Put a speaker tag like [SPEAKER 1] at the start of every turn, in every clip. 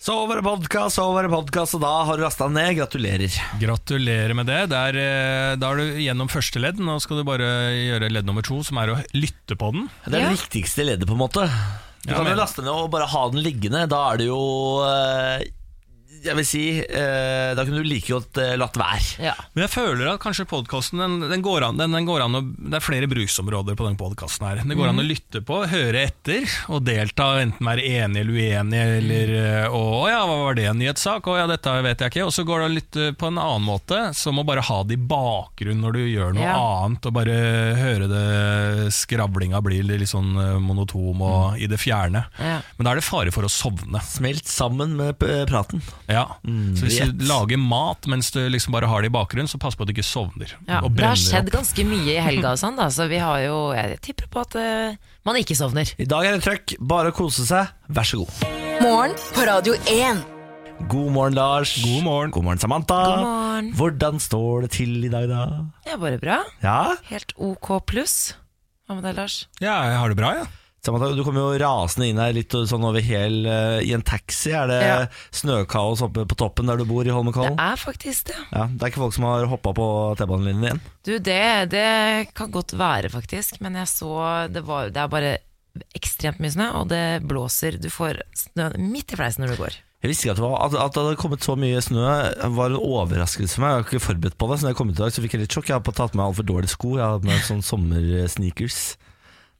[SPEAKER 1] Så var det podkast, så var det podkast, og da har du lasta ned. Gratulerer.
[SPEAKER 2] Gratulerer med det. Der, eh, da er du gjennom første ledd. Nå skal du bare gjøre ledd nummer to, som er å lytte på den.
[SPEAKER 1] Det er
[SPEAKER 3] Ja.
[SPEAKER 1] det viktigste leddet, på en måte. Du
[SPEAKER 2] Ja,
[SPEAKER 1] kan jo
[SPEAKER 2] men-
[SPEAKER 1] laste ned og bare ha den liggende. Da er det jo eh, Jeg vil si eh, Da kunne du like godt eh, latt være.
[SPEAKER 3] Ja.
[SPEAKER 2] Men jeg føler at kanskje podkasten den, den går an, den, den går an å, Det er flere bruksområder på den podkasten her. Det går an å lytte på, høre etter og delta, enten være enig eller uenig, eller eh, å, å ja, hva var det, en nyhetssak? Å ja, dette vet jeg ikke. Og så går det an å lytte på en annen måte, som å bare ha det i bakgrunnen når du gjør noe
[SPEAKER 3] Ja.
[SPEAKER 2] annet, og bare høre det skravlinga blir litt sånn eh, monotom og i det fjerne.
[SPEAKER 3] Ja.
[SPEAKER 2] Men da er det fare for å sovne.
[SPEAKER 1] Smelt sammen med p- praten.
[SPEAKER 2] Ja, Så hvis
[SPEAKER 1] Mm, rett.
[SPEAKER 2] du lager mat mens du liksom bare har det i bakgrunnen, så pass på at du ikke sovner.
[SPEAKER 3] Ja,
[SPEAKER 2] og
[SPEAKER 3] det
[SPEAKER 2] brenner
[SPEAKER 3] har skjedd
[SPEAKER 2] opp.
[SPEAKER 3] ganske mye i helga og sånn, da, så vi har jo Jeg tipper på at eh, man ikke sovner.
[SPEAKER 1] I dag er det trøkk. Bare å kose seg. Vær så god.
[SPEAKER 4] Morgen på Radio 1.
[SPEAKER 1] God morgen, Lars.
[SPEAKER 2] God morgen.
[SPEAKER 1] God morgen, Samantha.
[SPEAKER 3] God morgen.
[SPEAKER 1] Hvordan står det til i dag, da?
[SPEAKER 3] Det er bare bra.
[SPEAKER 1] Ja?
[SPEAKER 3] Helt OK pluss. Hva med deg, Lars?
[SPEAKER 2] Ja, jeg har det bra, ja.
[SPEAKER 1] Samantha, du kom jo rasende inn her litt sånn over hel eh, i en taxi. Er det
[SPEAKER 3] Ja.
[SPEAKER 1] snøkaos oppe på toppen der du bor i
[SPEAKER 3] Det
[SPEAKER 1] Holmenkollen?
[SPEAKER 3] er faktisk det.
[SPEAKER 1] Ja, det er ikke folk som har hoppa på T-banelinjen igjen?
[SPEAKER 3] Du, det, det kan godt være, faktisk. Men jeg så det, var, det er bare ekstremt mye snø, og det blåser. Du får snø midt i fleisen når du går.
[SPEAKER 1] Jeg visste ikke at det, var, at, at det hadde kommet så mye snø var en overraskelse for meg. Jeg var ikke forberedt på det. Så da jeg kom hit i dag, så fikk jeg litt sjokk. Jeg har på- tatt med altfor dårlige sko. Jeg har hatt med sånn sommersneakers.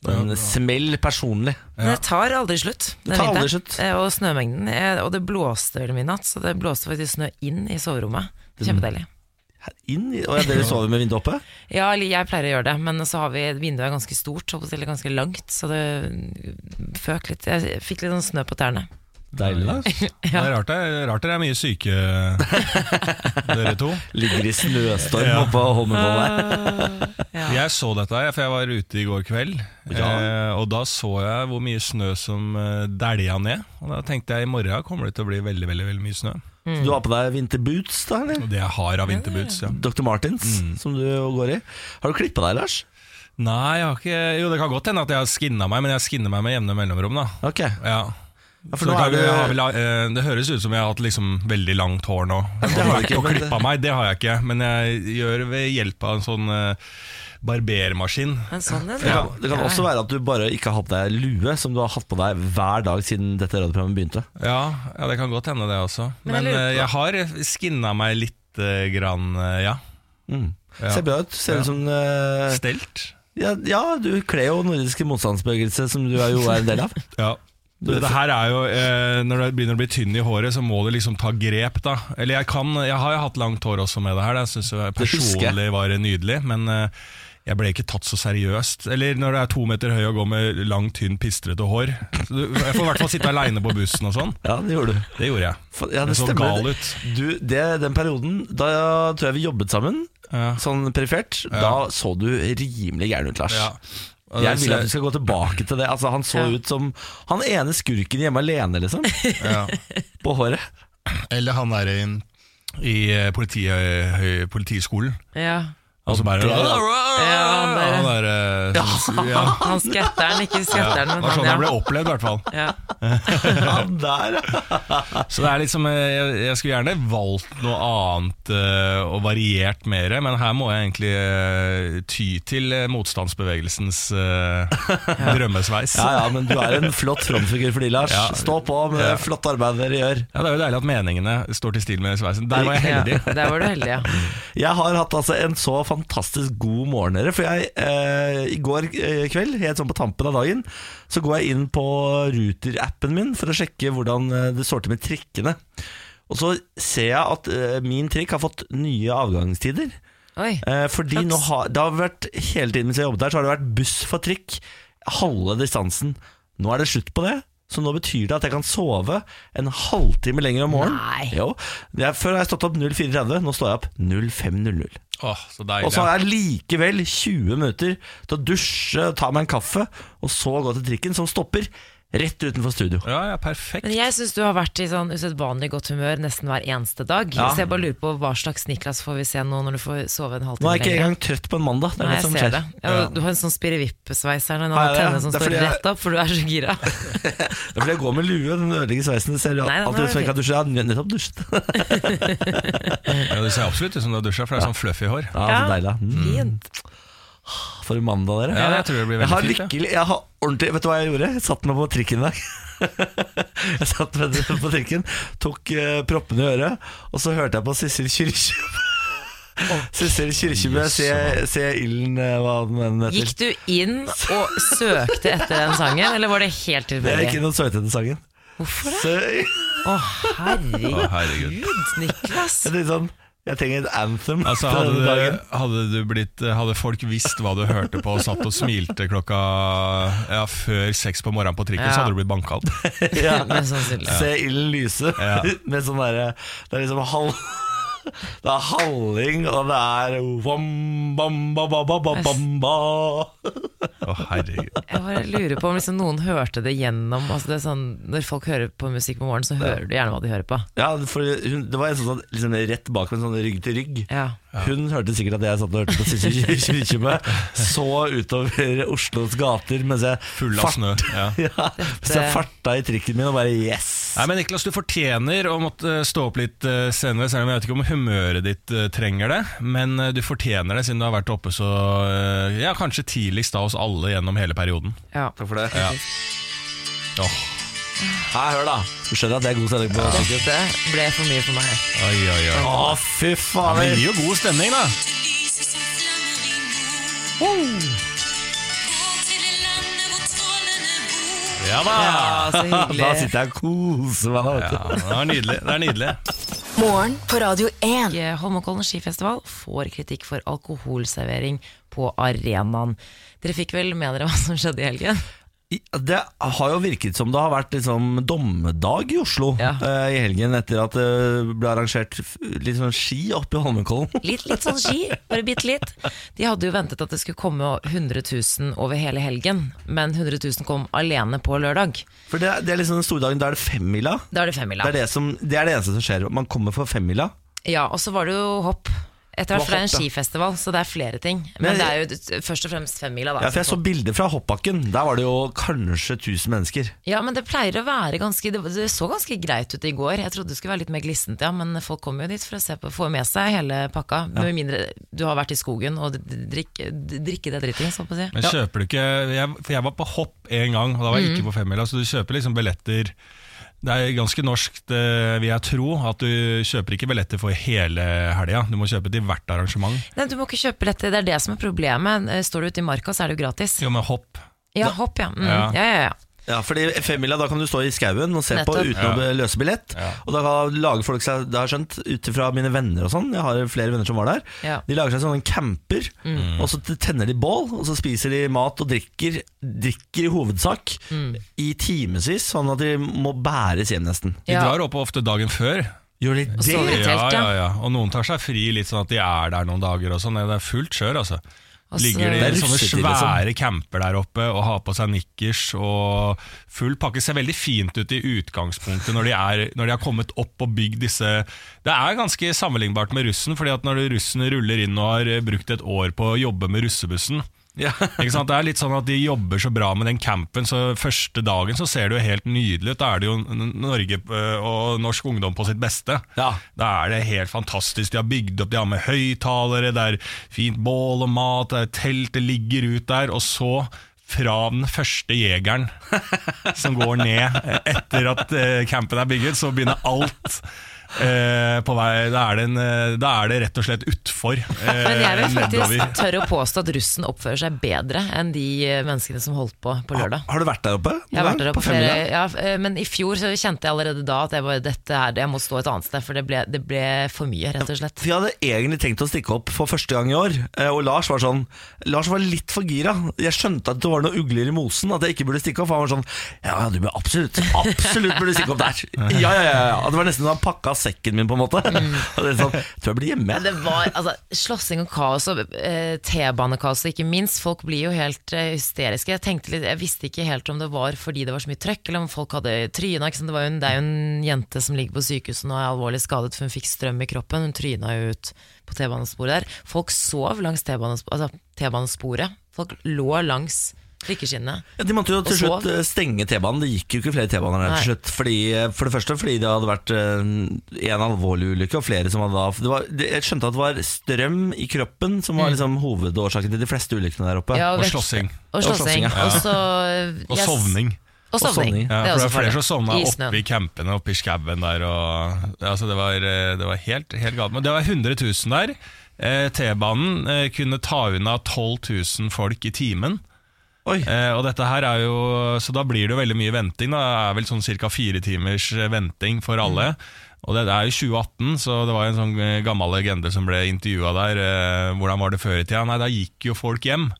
[SPEAKER 1] Men smell personlig.
[SPEAKER 3] Men det tar aldri slutt. den
[SPEAKER 1] tar aldri
[SPEAKER 3] vinteren.
[SPEAKER 1] slutt.
[SPEAKER 3] Eh, Og snømengden. eh, Og det blåste vel i natt, så det blåste faktisk snø inn i soverommet. Kjempedeilig.
[SPEAKER 1] Her inn i, og ja, Dere sover med vinduet oppe?
[SPEAKER 3] Ja, eller jeg pleier å gjøre det, men så har vi vinduet er ganske stort, holdt på å si, eller ganske langt, så det føk litt. Jeg fikk litt sånn snø på tærne.
[SPEAKER 1] Deilig. da.
[SPEAKER 2] Det er rart, det, rart dere er mye syke, dere to.
[SPEAKER 1] Ligger i snøstorm
[SPEAKER 2] Ja.
[SPEAKER 1] oppe på Holmenkollen. her.
[SPEAKER 3] Ah,
[SPEAKER 2] Jeg så dette, her, for jeg var ute i går kveld.
[SPEAKER 1] Ja.
[SPEAKER 2] eh, Og da så jeg hvor mye snø som eh, dælja ned. Og da tenkte jeg i morgen kommer det til å bli veldig veldig, veldig mye snø.
[SPEAKER 1] Så Du har på deg vinterboots, da? eller?
[SPEAKER 2] Og det jeg har av vinterboots. Ja.
[SPEAKER 1] Dr. Martins,
[SPEAKER 2] Mm.
[SPEAKER 1] som du går i. Har du klippa deg, Lars?
[SPEAKER 2] Nei, jeg har ikke Jo, det kan godt hende at jeg har skinna meg, men jeg skinner meg med jevne mellomrom, da.
[SPEAKER 1] Ok.
[SPEAKER 2] Ja.
[SPEAKER 1] for
[SPEAKER 2] Så det,
[SPEAKER 1] nå er
[SPEAKER 2] kan,
[SPEAKER 1] du-
[SPEAKER 2] jeg har vel, eh, det høres ut som jeg har hatt liksom veldig langt hår nå. Og
[SPEAKER 1] det har du
[SPEAKER 2] vært
[SPEAKER 1] ikke,
[SPEAKER 2] og
[SPEAKER 1] men det-
[SPEAKER 2] klippa meg, det har jeg ikke. Men jeg gjør ved hjelp av en sånn eh, barbermaskin.
[SPEAKER 3] Men sånn er
[SPEAKER 1] Det
[SPEAKER 3] det.
[SPEAKER 1] kan, det kan også være at du bare ikke har hatt på deg lue, som du har hatt på deg hver dag siden dette radioprogrammet begynte.
[SPEAKER 2] Ja, ja, det kan godt hende det også. Men,
[SPEAKER 3] Men jeg lurer
[SPEAKER 2] eh, jeg har skinna meg litt eh, grann, eh, ja. Ja.
[SPEAKER 1] Mm. Ser bra ut. Ser ut
[SPEAKER 2] Ja.
[SPEAKER 1] som eh,
[SPEAKER 2] Stelt.
[SPEAKER 1] Ja, ja du kler jo nordiske motstandsbevegelse, som du er jo er en del av.
[SPEAKER 2] Ja. Dette her er jo, eh, Når det begynner å bli tynn i håret, så må du liksom ta grep. da Eller jeg kan, jeg har jo hatt langt hår også med det her, det syns
[SPEAKER 1] husker
[SPEAKER 2] jeg
[SPEAKER 1] jeg.
[SPEAKER 2] personlig var nydelig. Men eh, jeg ble ikke tatt så seriøst. Eller når du er to meter høy og går med langt, tynn, pistrete hår. Så du, jeg får i hvert fall sitte aleine på bussen og sånn.
[SPEAKER 1] Ja, det gjorde du.
[SPEAKER 2] Det gjorde jeg.
[SPEAKER 1] For- Ja,
[SPEAKER 2] Jeg så gal
[SPEAKER 1] det.
[SPEAKER 2] ut.
[SPEAKER 1] Du, det, den perioden, da tror jeg vi jobbet sammen,
[SPEAKER 2] Ja.
[SPEAKER 1] sånn perifert. Da så du rimelig gæren ut, Lars.
[SPEAKER 2] Ja. Og
[SPEAKER 1] Jeg
[SPEAKER 2] det-
[SPEAKER 1] vil at du skal gå tilbake til det. Altså, han så
[SPEAKER 3] Ja.
[SPEAKER 1] ut som han ene skurken hjemme alene, liksom.
[SPEAKER 2] ja.
[SPEAKER 1] På håret.
[SPEAKER 2] Eller han derre i, i eh, politi, høy, politiskolen.
[SPEAKER 3] Ja.
[SPEAKER 2] Og så bare
[SPEAKER 1] det-
[SPEAKER 2] Han
[SPEAKER 3] Ja, han
[SPEAKER 2] der eh, som- ja.
[SPEAKER 3] Han skatteren, ikke
[SPEAKER 2] Det
[SPEAKER 3] skatteren, men
[SPEAKER 2] var sånn jeg
[SPEAKER 3] han,
[SPEAKER 2] ble opplevd, i hvert fall.
[SPEAKER 3] ja. ja.
[SPEAKER 1] Han der, ja.
[SPEAKER 2] Så det er liksom, eh, jeg, jeg skulle gjerne valgt noe annet eh, og variert mer, men her må jeg egentlig eh, ty til eh, motstandsbevegelsens eh, drømmesveis.
[SPEAKER 1] ja, ja, men du er en flott frontfigur for de, Lars.
[SPEAKER 2] Ja.
[SPEAKER 1] Stå på med
[SPEAKER 2] Ja.
[SPEAKER 1] det flotte arbeidet dere gjør.
[SPEAKER 2] Ja, Det er jo deilig at meningene står til stil med sveisen. Der var jeg heldig.
[SPEAKER 3] Ja, der var du heldig, ja.
[SPEAKER 1] Jeg har hatt altså en så fantastisk god morgen, dere. For jeg, eh, i går eh, kveld, helt sånn på tampen av dagen, så går jeg inn på Ruter-appen min for å sjekke hvordan eh, det står til med trikkene. Og så ser jeg at eh, min trikk har fått nye avgangstider.
[SPEAKER 3] Oi.
[SPEAKER 1] Eh, fordi nå har, det har vært Hele tiden mens jeg jobbet der, så har det vært buss for trikk halve distansen. Nå er det slutt på det. Så nå betyr det at jeg kan sove en halvtime lenger om morgenen.
[SPEAKER 3] Nei.
[SPEAKER 1] Jo, jeg, før har jeg stått opp 04.30, nå står jeg opp 05.00.
[SPEAKER 2] Åh, så deilig.
[SPEAKER 1] Og så har jeg likevel 20 minutter til å dusje, ta meg en kaffe, og så gå til trikken som stopper Rett utenfor studio.
[SPEAKER 2] Ja, ja, perfekt.
[SPEAKER 3] Men jeg syns du har vært i sånn usedvanlig godt humør nesten hver eneste dag.
[SPEAKER 1] Ja.
[SPEAKER 3] Så jeg bare lurer på hva slags Niklas får vi se nå når du får sove en
[SPEAKER 1] Nå
[SPEAKER 3] halvtime
[SPEAKER 1] er jeg ikke engang trøtt på en mandag. Det er
[SPEAKER 3] Nei,
[SPEAKER 1] det
[SPEAKER 3] jeg
[SPEAKER 1] som
[SPEAKER 3] ser
[SPEAKER 1] skjer.
[SPEAKER 3] det. Ja, du har en sånn spirrevippesveis her, en
[SPEAKER 1] Har jeg det?
[SPEAKER 3] antenne som
[SPEAKER 1] Det er
[SPEAKER 3] står
[SPEAKER 1] fordi jeg-
[SPEAKER 3] rett opp, for du er så gira.
[SPEAKER 1] Det er fordi jeg går med lue, den ødelegger sveisen. Det ser jo
[SPEAKER 3] Nei, den
[SPEAKER 1] alltid
[SPEAKER 3] er
[SPEAKER 1] ut som jeg ikke har dusjet. Jeg har nettopp dusjet.
[SPEAKER 2] Ja, det ser absolutt ut som du har dusja, for det er sånn fluffy hår.
[SPEAKER 1] Ja, så
[SPEAKER 3] Ja.
[SPEAKER 1] deilig. Mm.
[SPEAKER 3] Fint.
[SPEAKER 1] For en mandag, dere.
[SPEAKER 2] Ja, jeg tror det blir
[SPEAKER 1] Jeg har
[SPEAKER 2] veldig fint.
[SPEAKER 1] lykkelig jeg har ordentlig, Vet du hva jeg gjorde? Jeg satt meg på trikken i dag. jeg satt meg på trikken, tok eh, proppene i øret, og så hørte jeg på Sissel Kyrkjebø. Sissel Kyrkjebø, se, se ilden, eh, hva den enn heter.
[SPEAKER 3] Gikk du inn og søkte etter den sangen, eller var det helt
[SPEAKER 1] Det er ikke
[SPEAKER 3] tilfeldig?
[SPEAKER 1] noen søtete sangen.
[SPEAKER 3] Hvorfor det?
[SPEAKER 1] Så jeg
[SPEAKER 3] Å, herregud,
[SPEAKER 2] Å, herregud.
[SPEAKER 3] Niklas.
[SPEAKER 1] jeg tenkte sånn Jeg trenger et anthem
[SPEAKER 2] Altså,
[SPEAKER 1] til
[SPEAKER 2] hadde,
[SPEAKER 1] denne dagen.
[SPEAKER 2] du, hadde, du blitt, hadde folk visst hva du hørte på og satt og smilte klokka ja, før seks på morgenen på trikken,
[SPEAKER 3] Ja.
[SPEAKER 2] så hadde du blitt banka opp.
[SPEAKER 1] Ja.
[SPEAKER 3] Mest sannsynlig.
[SPEAKER 1] Se ilden lyse
[SPEAKER 2] Ja.
[SPEAKER 1] med sånn derre Det er liksom halv det er halling, og det er wam, bam, ba, ba, ba, ba, bam, ba.
[SPEAKER 2] Å, herregud.
[SPEAKER 3] Jeg bare lurer på om liksom noen hørte det gjennom altså det er sånn, Når folk hører på musikk på morgenen, så hører du gjerne hva de hører på.
[SPEAKER 1] Ja, for hun, det var en sånn satt liksom, rett bak med en sånn rygg til rygg.
[SPEAKER 3] Ja.
[SPEAKER 1] Hun hørte sikkert at jeg satt og hørte på Sissel Kyrkjebø. Så utover Oslos gater mens jeg,
[SPEAKER 2] Full av
[SPEAKER 1] fart-
[SPEAKER 2] snø. Ja.
[SPEAKER 1] ja, mens jeg farta i trikken min og bare yes!
[SPEAKER 2] Nei, men Niklas, du fortjener å måtte eh, stå opp litt eh, senere, selv om jeg vet ikke om humøret ditt eh, trenger det. Men eh, du fortjener det, siden du har vært oppe så eh, Ja, kanskje tidligst av oss alle gjennom hele perioden.
[SPEAKER 3] ja.
[SPEAKER 1] Takk for det.
[SPEAKER 2] Åh,
[SPEAKER 1] Her, hør, da. Du skjønner at det er god stemning på sykehus?
[SPEAKER 3] Dette ble for mye for meg.
[SPEAKER 2] oi, oi, oi.
[SPEAKER 1] Å, fy faen!
[SPEAKER 2] Det gir jo god stemning, da. Ja da!
[SPEAKER 3] Ja, så
[SPEAKER 1] Da
[SPEAKER 3] hyggelig.
[SPEAKER 1] sitter jeg og koser meg. da, vet du.
[SPEAKER 2] Ja, det er nydelig. Det er nydelig.
[SPEAKER 4] Morgen på Radio 1.
[SPEAKER 3] Holmenkollen skifestival får kritikk for alkoholservering på arenaen. Dere fikk vel med dere hva som skjedde i helgen?
[SPEAKER 1] I- Det har jo virket som det har vært liksom dommedag i Oslo
[SPEAKER 3] Ja.
[SPEAKER 1] eh, i helgen etter at det ble arrangert f- litt sånn ski oppe i Holmenkollen.
[SPEAKER 3] Litt, litt sånn ski, bare bitte litt. De hadde jo ventet at det skulle komme 100 000 over hele helgen, men 100 000 kom alene på lørdag.
[SPEAKER 1] For det, er- det er liksom den store dagen, da er det femmila.
[SPEAKER 3] Da er det femmila.
[SPEAKER 1] Det, er det, som, det er det eneste som skjer. Man kommer for femmila.
[SPEAKER 3] Ja, og så var det jo hopp. Etter
[SPEAKER 1] Det
[SPEAKER 3] hvert,
[SPEAKER 1] var
[SPEAKER 3] for det er en
[SPEAKER 1] hopp, ja.
[SPEAKER 3] skifestival, så det er flere ting.
[SPEAKER 1] Men-
[SPEAKER 3] Men det er jo først og fremst femmila, da.
[SPEAKER 1] Ja, for jeg så bilder fra hoppbakken. Der var det jo kanskje 1000 mennesker.
[SPEAKER 3] Ja, men det pleier å være ganske Det det så ganske greit ut i går. Jeg trodde det skulle være litt mer glissent, ja, men folk kommer jo dit for å se på, få med seg hele pakka. Med mindre du har vært i skogen og d- d- drikke, d- drikke det drittings, holdt på å si.
[SPEAKER 2] Men kjøper du ikke jeg, For jeg var på hopp én gang, og da var jeg ikke på femmila, så du kjøper liksom billetter det er ganske norsk, det vil jeg tro, at du kjøper ikke billetter for hele helga. Du må kjøpe til hvert arrangement.
[SPEAKER 3] Nei, du må ikke kjøpe billetter, det er det som er problemet. Eh, Står du ute i marka, så er det jo gratis.
[SPEAKER 2] Jo, med hopp.
[SPEAKER 3] Ja, hopp, ja. Mm, ja.
[SPEAKER 2] Ja.
[SPEAKER 3] ja, ja, ja.
[SPEAKER 1] Ja, fordi femmila, da kan du stå i skauen og se på
[SPEAKER 3] Nettopp.
[SPEAKER 1] uten å løse billett. Og da lager folk seg, det har jeg skjønt, ut ifra mine venner og sånn, jeg har flere venner som var der,
[SPEAKER 3] Ja. Mm.
[SPEAKER 1] de lager seg sånne camper, og så tenner de bål, og så spiser de mat og drikker, drikker i hovedsak,
[SPEAKER 3] Mm.
[SPEAKER 1] i timevis, sånn at de må bæres hjem nesten.
[SPEAKER 2] De
[SPEAKER 3] Ja.
[SPEAKER 2] drar opp ofte dagen før.
[SPEAKER 1] Gjør de
[SPEAKER 3] Og så-
[SPEAKER 1] det?
[SPEAKER 2] Ja,
[SPEAKER 3] I telt,
[SPEAKER 2] ja,
[SPEAKER 3] ja.
[SPEAKER 2] ja. Og noen tar seg fri litt sånn at de er der noen dager og sånn. Nei, Det er fullt kjør, altså.
[SPEAKER 3] Og så-
[SPEAKER 2] Ligger
[SPEAKER 1] Det
[SPEAKER 2] de
[SPEAKER 1] er
[SPEAKER 2] i sånne
[SPEAKER 1] russetid,
[SPEAKER 2] svære camper der oppe og har på seg nikkers og full pakke. Ser veldig fint ut i utgangspunktet når de, er, når de har kommet opp og bygd disse Det er ganske sammenlignbart med russen, fordi at når russen ruller inn og har eh, brukt et år på å jobbe med russebussen
[SPEAKER 1] Ja.
[SPEAKER 2] ikke sant? Det er litt sånn at De jobber så bra med den campen, så første dagen så ser det jo helt nydelig ut. Da er det jo N- Norge eh, og norsk ungdom på sitt beste.
[SPEAKER 1] Ja.
[SPEAKER 2] Da er det helt fantastisk. De har bygd opp, de har med høyttalere, det er fint bål og mat, det er telt, det ligger ut der. Og så fra den første jegeren som går ned etter at eh, campen er bygget, så begynner alt. eh, på vei, da er, det en, eh, da er det rett og slett utfor. eh,
[SPEAKER 3] Men jeg vil
[SPEAKER 2] nedover.
[SPEAKER 3] faktisk tørre å påstå at russen oppfører seg bedre enn de eh, menneskene som holdt på på lørdag.
[SPEAKER 1] Har du vært der oppe?
[SPEAKER 3] Jeg har vært der oppe
[SPEAKER 1] Femmila?
[SPEAKER 3] flere, ja, f- eh, men i fjor så kjente jeg allerede da at jeg, bare, dette her, jeg må stå et annet sted, for det ble, det ble for mye, rett og slett.
[SPEAKER 1] For jeg hadde egentlig tenkt å stikke opp for første gang i år, eh, og Lars var sånn Lars var litt for gira. Jeg skjønte at det var noen ugler i mosen, at jeg ikke burde stikke opp. For han var sånn Ja, du bør absolutt absolutt burde stikke opp der. Ja, ja, ja, ja. At Det var nesten som han pakka sekken min, på en måte. Og det er sånn, jeg tror jeg blir hjemme.
[SPEAKER 3] Men Mm. det var altså, slåssing og kaos, og eh, T-banekaos og ikke minst. Folk blir jo helt eh, hysteriske. Jeg, tenkte litt, jeg visste ikke helt om det var fordi det var så mye trøkk, eller om folk hadde tryna. Ikke sant? Det, var jo en, det er jo en jente som ligger på sykehuset nå og er alvorlig skadet, for hun fikk strøm i kroppen. Hun tryna jo ut på T-banesporet der. Folk sov langs T-banesp- altså, T-banesporet. Folk lå langs trikkeskinnene.
[SPEAKER 1] Ja, De måtte jo til
[SPEAKER 3] Og
[SPEAKER 1] slutt
[SPEAKER 3] sov.
[SPEAKER 1] eh, stenge T-banen. Det gikk jo ikke flere T-baner der til
[SPEAKER 3] Nei.
[SPEAKER 1] slutt. Fordi, eh, for det første fordi det hadde vært eh, en alvorlig ulykke, og flere som hadde da det var, det, Jeg skjønte at det var strøm i kroppen som var liksom, hovedårsaken til de fleste ulykkene der oppe.
[SPEAKER 3] Mm. Ja,
[SPEAKER 2] Og
[SPEAKER 3] vekt-
[SPEAKER 2] slåssing.
[SPEAKER 3] Og
[SPEAKER 1] Og slåssing,
[SPEAKER 3] slåssing.
[SPEAKER 1] ja.
[SPEAKER 3] Og så
[SPEAKER 2] Og
[SPEAKER 3] jeg-
[SPEAKER 2] sovning.
[SPEAKER 3] Og sovning.
[SPEAKER 1] sovning.
[SPEAKER 2] Ja, for
[SPEAKER 3] Det er
[SPEAKER 2] det
[SPEAKER 3] også
[SPEAKER 2] var flere
[SPEAKER 3] farlig.
[SPEAKER 2] som sovna
[SPEAKER 3] I snøen.
[SPEAKER 2] oppe i campene oppe i skauen der. Og, altså det, var, eh, det var helt, helt galt. Men det var 100 000 der. Eh, T-banen eh, kunne ta unna 12 000 folk i timen.
[SPEAKER 1] Oi,
[SPEAKER 2] Eh, og dette her er jo, så da blir det jo veldig mye venting. Da. Det er vel sånn ca. fire timers eh, venting
[SPEAKER 3] Mm.
[SPEAKER 2] for alle. Og det, det er jo 2018, så det var jo en sånn eh, gammel legende som ble intervjua der. Eh, hvordan var det før i tida? Nei, da gikk jo folk hjem.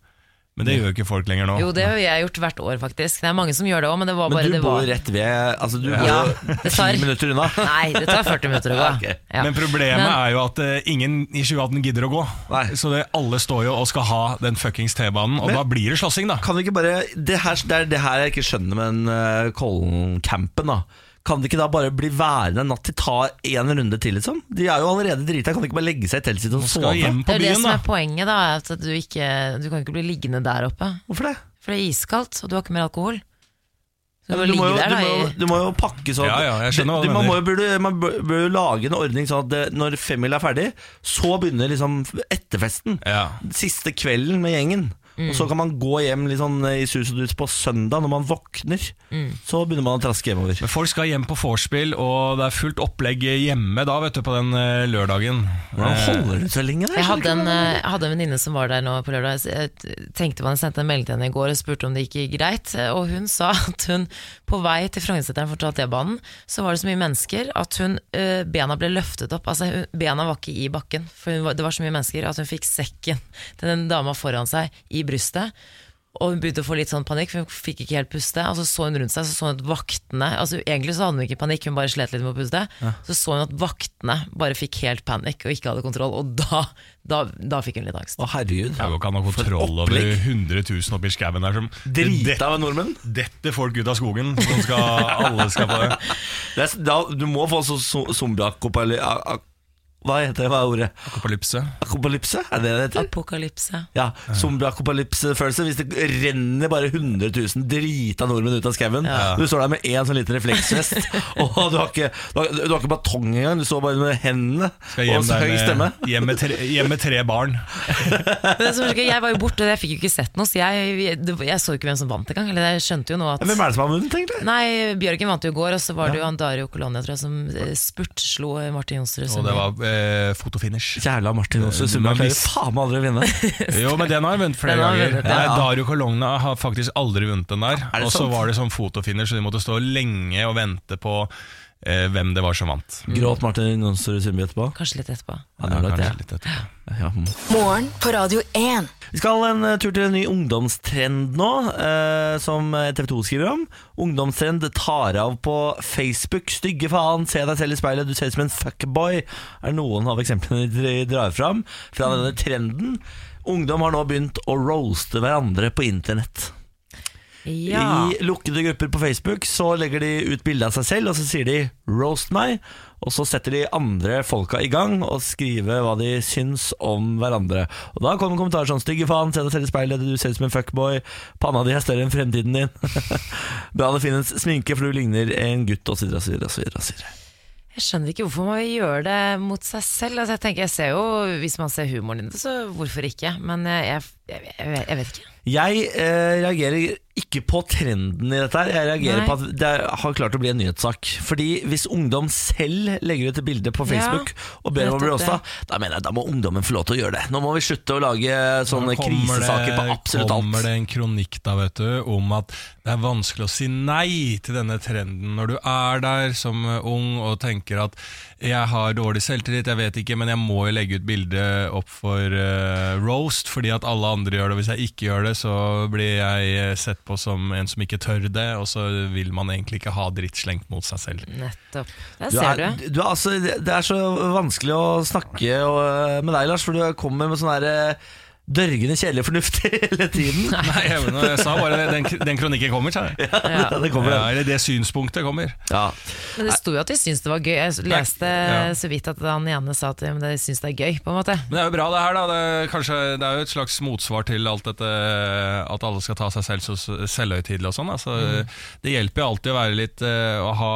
[SPEAKER 2] Men det gjør jo ikke folk lenger nå.
[SPEAKER 3] Jo, det har jeg gjort hvert år, faktisk. Det er mange som gjør det òg, men det var
[SPEAKER 1] Men
[SPEAKER 3] bare
[SPEAKER 1] du
[SPEAKER 3] det
[SPEAKER 1] bor
[SPEAKER 3] var...
[SPEAKER 1] jo rett ved Altså, du bor
[SPEAKER 3] Ja,
[SPEAKER 1] jo
[SPEAKER 3] det
[SPEAKER 1] ti
[SPEAKER 3] tar-
[SPEAKER 1] minutter unna.
[SPEAKER 3] Nei, det tar 40 minutter å gå.
[SPEAKER 1] Ok.
[SPEAKER 3] Ja.
[SPEAKER 2] Men problemet
[SPEAKER 3] Men-
[SPEAKER 2] er jo at eh, ingen i 2018 gidder å gå.
[SPEAKER 1] Nei.
[SPEAKER 2] Så det, alle står jo og skal ha den fuckings T-banen, og
[SPEAKER 1] Men-
[SPEAKER 2] da blir det slåssing, da.
[SPEAKER 1] Kan vi ikke bare Det her, det er det her jeg ikke skjønner med den eh, Kollen-campen, da. Kan de ikke da bare bli værende en natt til, ta en runde til, liksom? De er jo allerede drita, kan de ikke bare legge seg i teltet sitt og
[SPEAKER 2] Skal
[SPEAKER 1] sove?
[SPEAKER 2] hjem
[SPEAKER 3] Det
[SPEAKER 2] på
[SPEAKER 3] er det
[SPEAKER 2] byen,
[SPEAKER 3] som
[SPEAKER 2] da.
[SPEAKER 3] er poenget, da. er At du, ikke, du kan ikke bli liggende der oppe.
[SPEAKER 1] Hvorfor det?
[SPEAKER 3] For det er iskaldt, og du har ikke mer alkohol. Så du må
[SPEAKER 1] Du må,
[SPEAKER 3] ligge
[SPEAKER 1] jo,
[SPEAKER 3] der,
[SPEAKER 1] du,
[SPEAKER 3] da.
[SPEAKER 1] må, jo-
[SPEAKER 3] i-
[SPEAKER 1] du må jo pakke sånn
[SPEAKER 2] Ja, ja, jeg skjønner hva du
[SPEAKER 1] Det- man,
[SPEAKER 2] mener.
[SPEAKER 1] må jo, burde, man bør bør jo lage en ordning sånn at det, når femmila er ferdig, så begynner liksom etterfesten.
[SPEAKER 2] Ja.
[SPEAKER 1] Siste kvelden med gjengen. Og
[SPEAKER 3] Mm.
[SPEAKER 1] så kan man gå hjem litt sånn i sus og dus på søndag, når man våkner.
[SPEAKER 3] Mm.
[SPEAKER 1] Så begynner man å traske hjemover.
[SPEAKER 2] Men folk skal hjem på vorspiel, og det er fullt opplegg hjemme da, vet du, på den eh, lørdagen.
[SPEAKER 1] Hvordan
[SPEAKER 2] Eh,
[SPEAKER 1] holder du så lenge der?
[SPEAKER 3] Jeg hadde en, eh, jeg hadde en venninne som var der nå på lørdag. Jeg tenkte man sendte en melding til henne i går og spurte om det gikk greit. eh, Og hun sa at hun på vei til Frognerseteren for å ta T-banen, så var det så mye mennesker at hun, eh, bena ble løftet opp. Altså, hun, bena var ikke i bakken, for hun var, det var så mye mennesker at hun fikk sekken til den dama foran seg i brystet. Og hun begynte å få litt sånn panikk, for hun fikk ikke helt puste. Og så så hun rundt seg, så så hun at vaktene altså Egentlig så hadde hun ikke panikk, hun bare slet litt med å puste. Så så hun at vaktene bare fikk helt panikk og ikke hadde kontroll, og da, da, da fikk hun litt angst.
[SPEAKER 1] Å, herregud.
[SPEAKER 2] Det går ikke an å ha kontroll over
[SPEAKER 1] opplegg.
[SPEAKER 2] 100 000 oppi skauen der som det-
[SPEAKER 1] Drita av nordmenn.
[SPEAKER 2] detter folk ut av skogen. Som skal, alle skal på det.
[SPEAKER 1] Det er, s- da, du må få så, så, zombie-akopaly... a- a- Hva heter det? Hva er ordet?
[SPEAKER 2] Apokalypse.
[SPEAKER 1] Akopalypse? Er det det heter?
[SPEAKER 3] Apokalypse.
[SPEAKER 1] Ja, zombie-apokalypse-følelse. Hvis det renner bare 100 000 drita nordmenn ut av skauen. Du står der med én sånn liten refleksvest, og du har ikke, du har, du har ikke batong engang. Du står bare med hendene
[SPEAKER 2] Skal
[SPEAKER 1] og
[SPEAKER 2] hjem
[SPEAKER 1] så
[SPEAKER 2] der
[SPEAKER 1] høy stemme.
[SPEAKER 2] med, hjem, med tre, hjem med tre barn.
[SPEAKER 3] Men det som er så gøy, jeg var jo borte, jeg fikk jo ikke sett noe, så jeg, jeg, jeg så jo ikke hvem som vant engang. Eller jeg skjønte jo nå at
[SPEAKER 1] Hvem er det som har vunnet, egentlig?
[SPEAKER 3] Nei, Bjørgen vant jo i går, og så var det jo han Dario Colonia tror jeg, som eh, spurtslo eh, Martin Jonsrud.
[SPEAKER 2] Og
[SPEAKER 3] som-
[SPEAKER 2] det var eh, fotofinish.
[SPEAKER 1] Kjæla Martin også, Summa
[SPEAKER 2] Man
[SPEAKER 1] klarer
[SPEAKER 2] visste-
[SPEAKER 1] faen meg aldri å vinne.
[SPEAKER 2] Jo, men den har jeg vunnet flere
[SPEAKER 3] Den har jeg
[SPEAKER 2] ganger.
[SPEAKER 3] vunnet,
[SPEAKER 2] Nei,
[SPEAKER 1] ja.
[SPEAKER 2] Dario Colonna har faktisk aldri vunnet den der.
[SPEAKER 1] Er det
[SPEAKER 2] Og så
[SPEAKER 1] sant?
[SPEAKER 2] var det sånn fotofinner, så de måtte stå lenge og vente på eh, hvem det var som vant.
[SPEAKER 1] Gråt Martin Jonsrud Summi etterpå?
[SPEAKER 3] Kanskje litt etterpå.
[SPEAKER 1] Han gjør nok det.
[SPEAKER 2] kanskje litt etterpå.
[SPEAKER 1] Ja.
[SPEAKER 4] Morgen på Radio 1.
[SPEAKER 1] Vi skal en eh, tur til en ny ungdomstrend nå, eh, som TV 2 skriver om. Ungdomstrend tar av på Facebook. Stygge faen, se deg selv i speilet, du ser ut som en fuckboy, er noen av eksemplene de drar fram fra denne trenden. Ungdom har nå begynt å roaste hverandre på internett.
[SPEAKER 3] Ja.
[SPEAKER 1] I lukkede grupper på Facebook så legger de ut bilde av seg selv, og så sier de 'roast meg', og så setter de andre folka i gang og skriver hva de syns om hverandre. Og Da kommer kommentarer sånn 'stygge faen', 'se deg selv i speilet', 'du ser ut som en fuckboy', 'panna di er større enn fremtiden din', 'bra det finnes sminke, for du ligner en gutt', osv., osv., osv.
[SPEAKER 3] Jeg skjønner ikke hvorfor man vil gjøre det mot seg selv. Altså, jeg tenker, jeg ser jo, Hvis man ser humoren i det, så hvorfor ikke? Men eh, jeg, jeg, jeg, jeg vet ikke.
[SPEAKER 1] Jeg eh, reagerer ikke på trenden i dette. her Jeg reagerer
[SPEAKER 3] Nei.
[SPEAKER 1] på at det har klart å bli en nyhetssak. Fordi hvis ungdom selv legger ut et bilde på Facebook og ber om å bli
[SPEAKER 3] nettopp det.
[SPEAKER 1] roasta, da mener jeg da må ungdommen få lov til å gjøre det. Nå må vi slutte å lage sånne
[SPEAKER 2] Nå kommer
[SPEAKER 1] krisesaker på absolutt
[SPEAKER 2] Kommer
[SPEAKER 1] alt.
[SPEAKER 2] det en kronikk da, vet du, om at det er vanskelig å si nei til denne trenden når du er der som eh, ung og tenker at jeg har dårlig selvtillit, jeg vet ikke, men jeg må jo legge ut bilde opp for eh, roast fordi at alle andre gjør det, og hvis jeg ikke gjør det, så blir jeg eh, sett på som en som ikke tør det, og så vil man egentlig ikke ha dritt slengt mot seg selv.
[SPEAKER 3] Nettopp. Der
[SPEAKER 1] Du
[SPEAKER 3] ser
[SPEAKER 1] er,
[SPEAKER 3] du.
[SPEAKER 1] du er altså, det er så vanskelig å snakke og, med deg, Lars, for du kommer med sånn der eh, dørgende kjedelig fornuft hele tiden.
[SPEAKER 2] Nei, jeg, men jeg sa bare den, den kronikken kommer, sa jeg.
[SPEAKER 1] Ja, det kommer.
[SPEAKER 2] Ja, eller det synspunktet kommer.
[SPEAKER 1] Ja.
[SPEAKER 3] Men det sto jo at de syntes det var gøy. Jeg leste
[SPEAKER 2] Ja.
[SPEAKER 3] så vidt at han ene sa at ja, men de syns det er gøy, på en måte.
[SPEAKER 2] Men det er jo bra, det her. da Det er, kanskje, det er jo et slags motsvar til alt dette at alle skal ta seg selv så s- selvhøytidelig og sånn. Altså, Det hjelper jo alltid å være litt eh, Å ha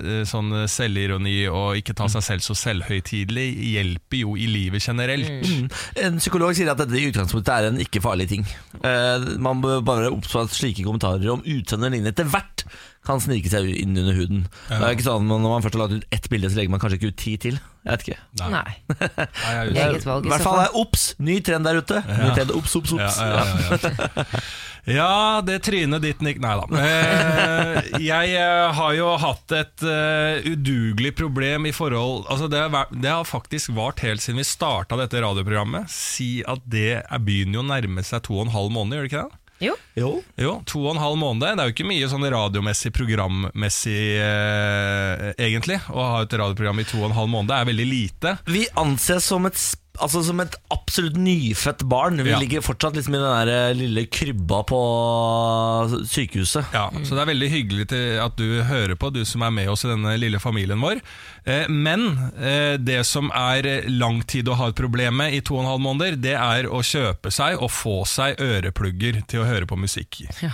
[SPEAKER 2] eh, sånn selvironi og ikke ta seg selv så selvhøytidelig hjelper jo i livet generelt.
[SPEAKER 1] Mm. En psykolog sier at dette i utgangspunktet er en ikke farlig ting. Eh, man bør bare være obs på at slike kommentarer om utseende og lignende etter hvert kan snike seg inn under huden. Det er ikke sånn at Når man først har lagt ut ett bilde, så legger man kanskje ikke ut ti til. Jeg vet ikke.
[SPEAKER 2] Nei,
[SPEAKER 3] Nei.
[SPEAKER 2] jeg er
[SPEAKER 3] Eget
[SPEAKER 2] usikker.
[SPEAKER 3] valg i
[SPEAKER 1] I hvert
[SPEAKER 3] så
[SPEAKER 1] fall
[SPEAKER 3] fall.
[SPEAKER 1] er obs! Ny trend der ute. Ny trend, Obs, obs,
[SPEAKER 2] Ja,
[SPEAKER 1] obs.
[SPEAKER 2] ja, ja, ja. ja, det trynet ditt, Nick Nei da. Eh, Jeg eh, har jo hatt et eh, udugelig problem i forhold altså det, har vært- det har faktisk vart helt siden vi starta dette radioprogrammet. Si at det er begynner jo å nærme seg to og en halv måned, gjør det ikke det?
[SPEAKER 3] Jo.
[SPEAKER 1] Jo.
[SPEAKER 2] Jo, to og en halv måned. Det er jo ikke mye sånn radiomessig, programmessig, eh, egentlig. Å ha et radioprogram i to og en halv måned er veldig lite.
[SPEAKER 1] Vi anses som et sp- Altså som et absolutt nyfødt barn. Vi
[SPEAKER 2] Ja.
[SPEAKER 1] ligger fortsatt liksom i den der eh, lille krybba på eh, sykehuset.
[SPEAKER 2] Ja, Så det er veldig hyggelig til at du hører på, du som er med oss i denne lille familien vår. Eh, Men eh, det som er eh, lang tid å ha et problem med i to og en halv måneder, det er å kjøpe seg og få seg øreplugger til å høre på musikk. i.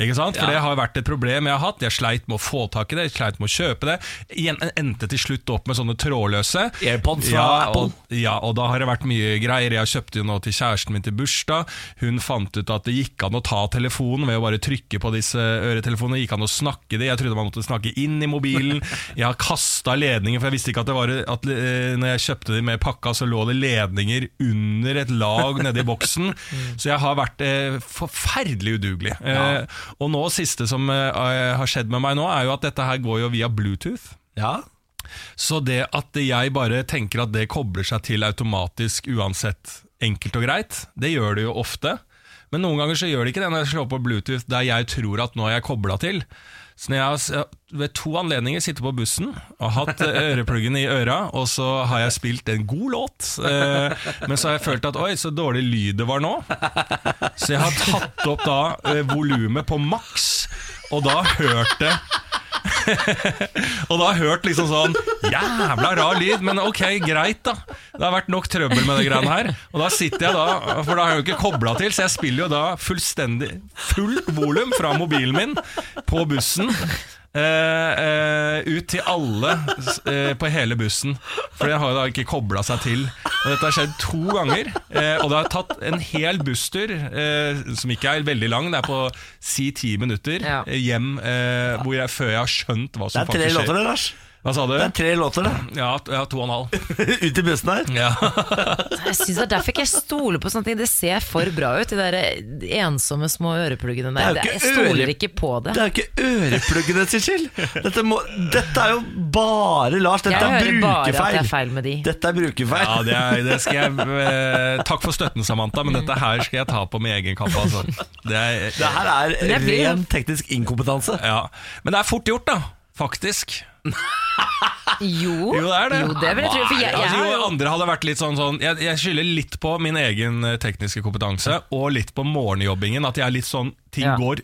[SPEAKER 2] Ikke sant? For det har vært et problem jeg har hatt. Jeg sleit med å få tak i det, jeg sleit med å kjøpe det. Igjen, endte til slutt opp med sånne trådløse.
[SPEAKER 1] Airpods fra Apple.
[SPEAKER 2] Og, ja, og da har det vært mye greier. Jeg kjøpte jo nå til kjæresten min til bursdag. Hun fant ut at det gikk an å ta telefonen ved å bare trykke på disse øretelefonene. Det Gikk an å snakke det. Jeg trodde man måtte snakke inn i mobilen. Jeg har kasta ledninger, for jeg visste ikke at det var at eh, når jeg kjøpte de med pakka, så lå det ledninger under et lag nedi boksen.
[SPEAKER 1] Mm.
[SPEAKER 2] Så jeg har vært eh, forferdelig udugelig. Eh, og nå siste som eh, har skjedd med meg nå, er jo at dette her går jo via Bluetooth.
[SPEAKER 1] Ja.
[SPEAKER 2] Så det at jeg bare tenker at det kobler seg til automatisk uansett enkelt og greit, det gjør det jo ofte. Men noen ganger så gjør det ikke det når jeg slår på Bluetooth der jeg tror at nå er jeg kobla til. Så når jeg har s- ved to anledninger sitter på bussen og hatt eh, ørepluggen i øra, og så har jeg spilt en god låt, eh, men så har jeg følt at oi, så dårlig lyd det var nå. Så jeg har tatt opp da eh, volumet på maks, og da hørt det og da har jeg hørt liksom sånn Jævla rar lyd, men ok, greit da Det har vært nok trøbbel med det greiene her Og da sitter jeg da, for da har jeg jo ikke koblet til Så jeg spiller jo da fullstendig Fullt volum fra mobilen min På bussen eh, eh, ut til alle eh, På hele bussen For det har jo da ikke koblet seg til Og dette har skjedd to ganger eh, Og det har tatt en hel busstur eh, Som ikke er veldig lang Det er på si ti minutter
[SPEAKER 3] Ja.
[SPEAKER 2] eh, Hjem eh, hvor jeg, før jeg har skjønt Hva
[SPEAKER 1] Det
[SPEAKER 2] som
[SPEAKER 1] er tre
[SPEAKER 2] faktisk skjer
[SPEAKER 1] låter, det, Lars.
[SPEAKER 2] hva sa du?
[SPEAKER 1] Det er tre låter, det.
[SPEAKER 2] Ja, t- ja, to og en halv.
[SPEAKER 1] Ut i bussen her.
[SPEAKER 2] Ja.
[SPEAKER 3] Jeg synes det er Derfor ikke jeg stoler på sånne ting. Det ser for bra ut, de der ensomme små ørepluggene der.
[SPEAKER 1] Det er jo
[SPEAKER 3] jeg
[SPEAKER 1] ikke
[SPEAKER 3] stoler
[SPEAKER 1] øre-
[SPEAKER 3] ikke på det.
[SPEAKER 1] Det er jo ikke ørepluggene sin skyld! Dette, må, dette er jo bare Lars. Dette
[SPEAKER 3] Jeg
[SPEAKER 1] er
[SPEAKER 3] hører bare at det
[SPEAKER 1] brukerfeil.
[SPEAKER 3] er feil med de.
[SPEAKER 1] Dette er brukerfeil.
[SPEAKER 2] Ja, det, er, det skal jeg eh, Takk for støtten, Samantha, men dette her skal jeg ta på med egen kappe. Altså. Det er,
[SPEAKER 1] Det her
[SPEAKER 3] Men jeg
[SPEAKER 1] er
[SPEAKER 3] blir-
[SPEAKER 1] ren teknisk inkompetanse.
[SPEAKER 2] ja. Men det er fort gjort, da. Faktisk.
[SPEAKER 3] Jo,
[SPEAKER 2] Jo, det er det.
[SPEAKER 3] Jo, det vil jeg tro. For jeg, jeg
[SPEAKER 2] altså,
[SPEAKER 3] er
[SPEAKER 2] jo,
[SPEAKER 3] jo
[SPEAKER 2] andre hadde vært litt sånn, sånn jeg, jeg skylder litt på min egen eh, tekniske kompetanse, og litt på morgenjobbingen. At jeg er litt sånn Ting
[SPEAKER 3] Ja.
[SPEAKER 2] går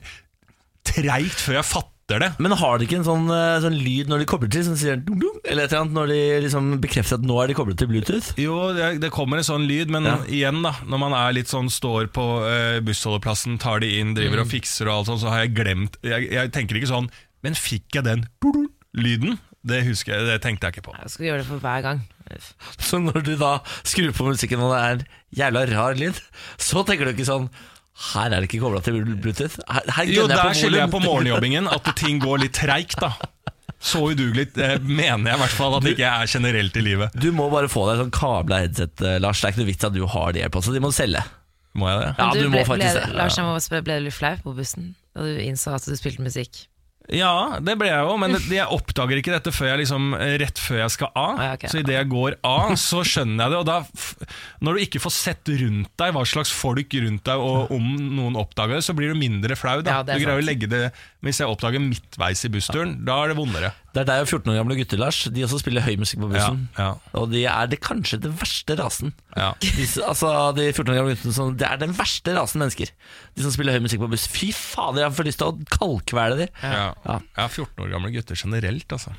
[SPEAKER 2] treigt før jeg fatter det.
[SPEAKER 1] Men har de ikke en sånn, eh, sånn lyd når de kobler til, som sier dung, dung, eller et eller annet, når de liksom bekrefter at nå er de koblet til Bluetooth?
[SPEAKER 2] Jo, det, det kommer en sånn lyd, men
[SPEAKER 1] Ja.
[SPEAKER 2] igjen da Når man er litt sånn, står på eh, bussholdeplassen Tar de inn, driver og fikser og alt sånt Så har jeg glemt, jeg, jeg tenker ikke sånn Men fikk jeg den lyden? Det husker jeg, det tenkte jeg ikke på
[SPEAKER 3] Jeg skal gjøre det for hver gang.
[SPEAKER 1] Så når du da skrur på musikken og det er en jævla rar lyd, så tenker du ikke sånn her er det ikke kobla til Bluetooth. Her, her
[SPEAKER 2] Jo,
[SPEAKER 1] gønner
[SPEAKER 2] der skylder jeg på
[SPEAKER 1] volum.
[SPEAKER 2] morgenjobbingen At ting går litt treigt da Så udugelig eh, mener jeg i hvert fall At det ikke er generelt i livet
[SPEAKER 1] Du må bare få deg sånn kabla headset, eh, Lars. Det er ikke noe vits at du har det på, så de må selge.
[SPEAKER 2] Må jeg det?
[SPEAKER 1] Ja,
[SPEAKER 3] Men
[SPEAKER 1] du må
[SPEAKER 3] ble,
[SPEAKER 1] faktisk
[SPEAKER 3] ble,
[SPEAKER 1] det.
[SPEAKER 3] Lars, jeg må bare spørre, ble du litt flau på bussen da du innså at du spilte musikk?
[SPEAKER 2] Ja, det ble jeg jo, men det, det- jeg oppdager ikke dette før jeg liksom, eh, rett før jeg skal av.
[SPEAKER 3] Ah, ja, ok.
[SPEAKER 2] Så idet jeg går av, så skjønner jeg det. Og da, f- når du ikke får sett rundt deg hva slags folk rundt deg, og om noen oppdager det, så blir du mindre flau. Da.
[SPEAKER 3] Ja, det er
[SPEAKER 2] du greier å
[SPEAKER 3] sant.
[SPEAKER 2] legge det Hvis jeg oppdager midtveis i bussturen, da er det vondere.
[SPEAKER 1] Det er deg og 14 år gamle gutter, Lars. De også spiller høy musikk på bussen.
[SPEAKER 2] Ja,
[SPEAKER 1] Og de er det kanskje den verste rasen.
[SPEAKER 2] Ja.
[SPEAKER 1] De, s- altså, de 14 år gamle guttene som, Det er den verste rasen mennesker. De som spiller høy musikk på buss. Fy fader, jeg får lyst til å kaldkvele de.
[SPEAKER 2] Ja.
[SPEAKER 1] Ja.
[SPEAKER 2] ja, 14 år gamle gutter generelt, altså.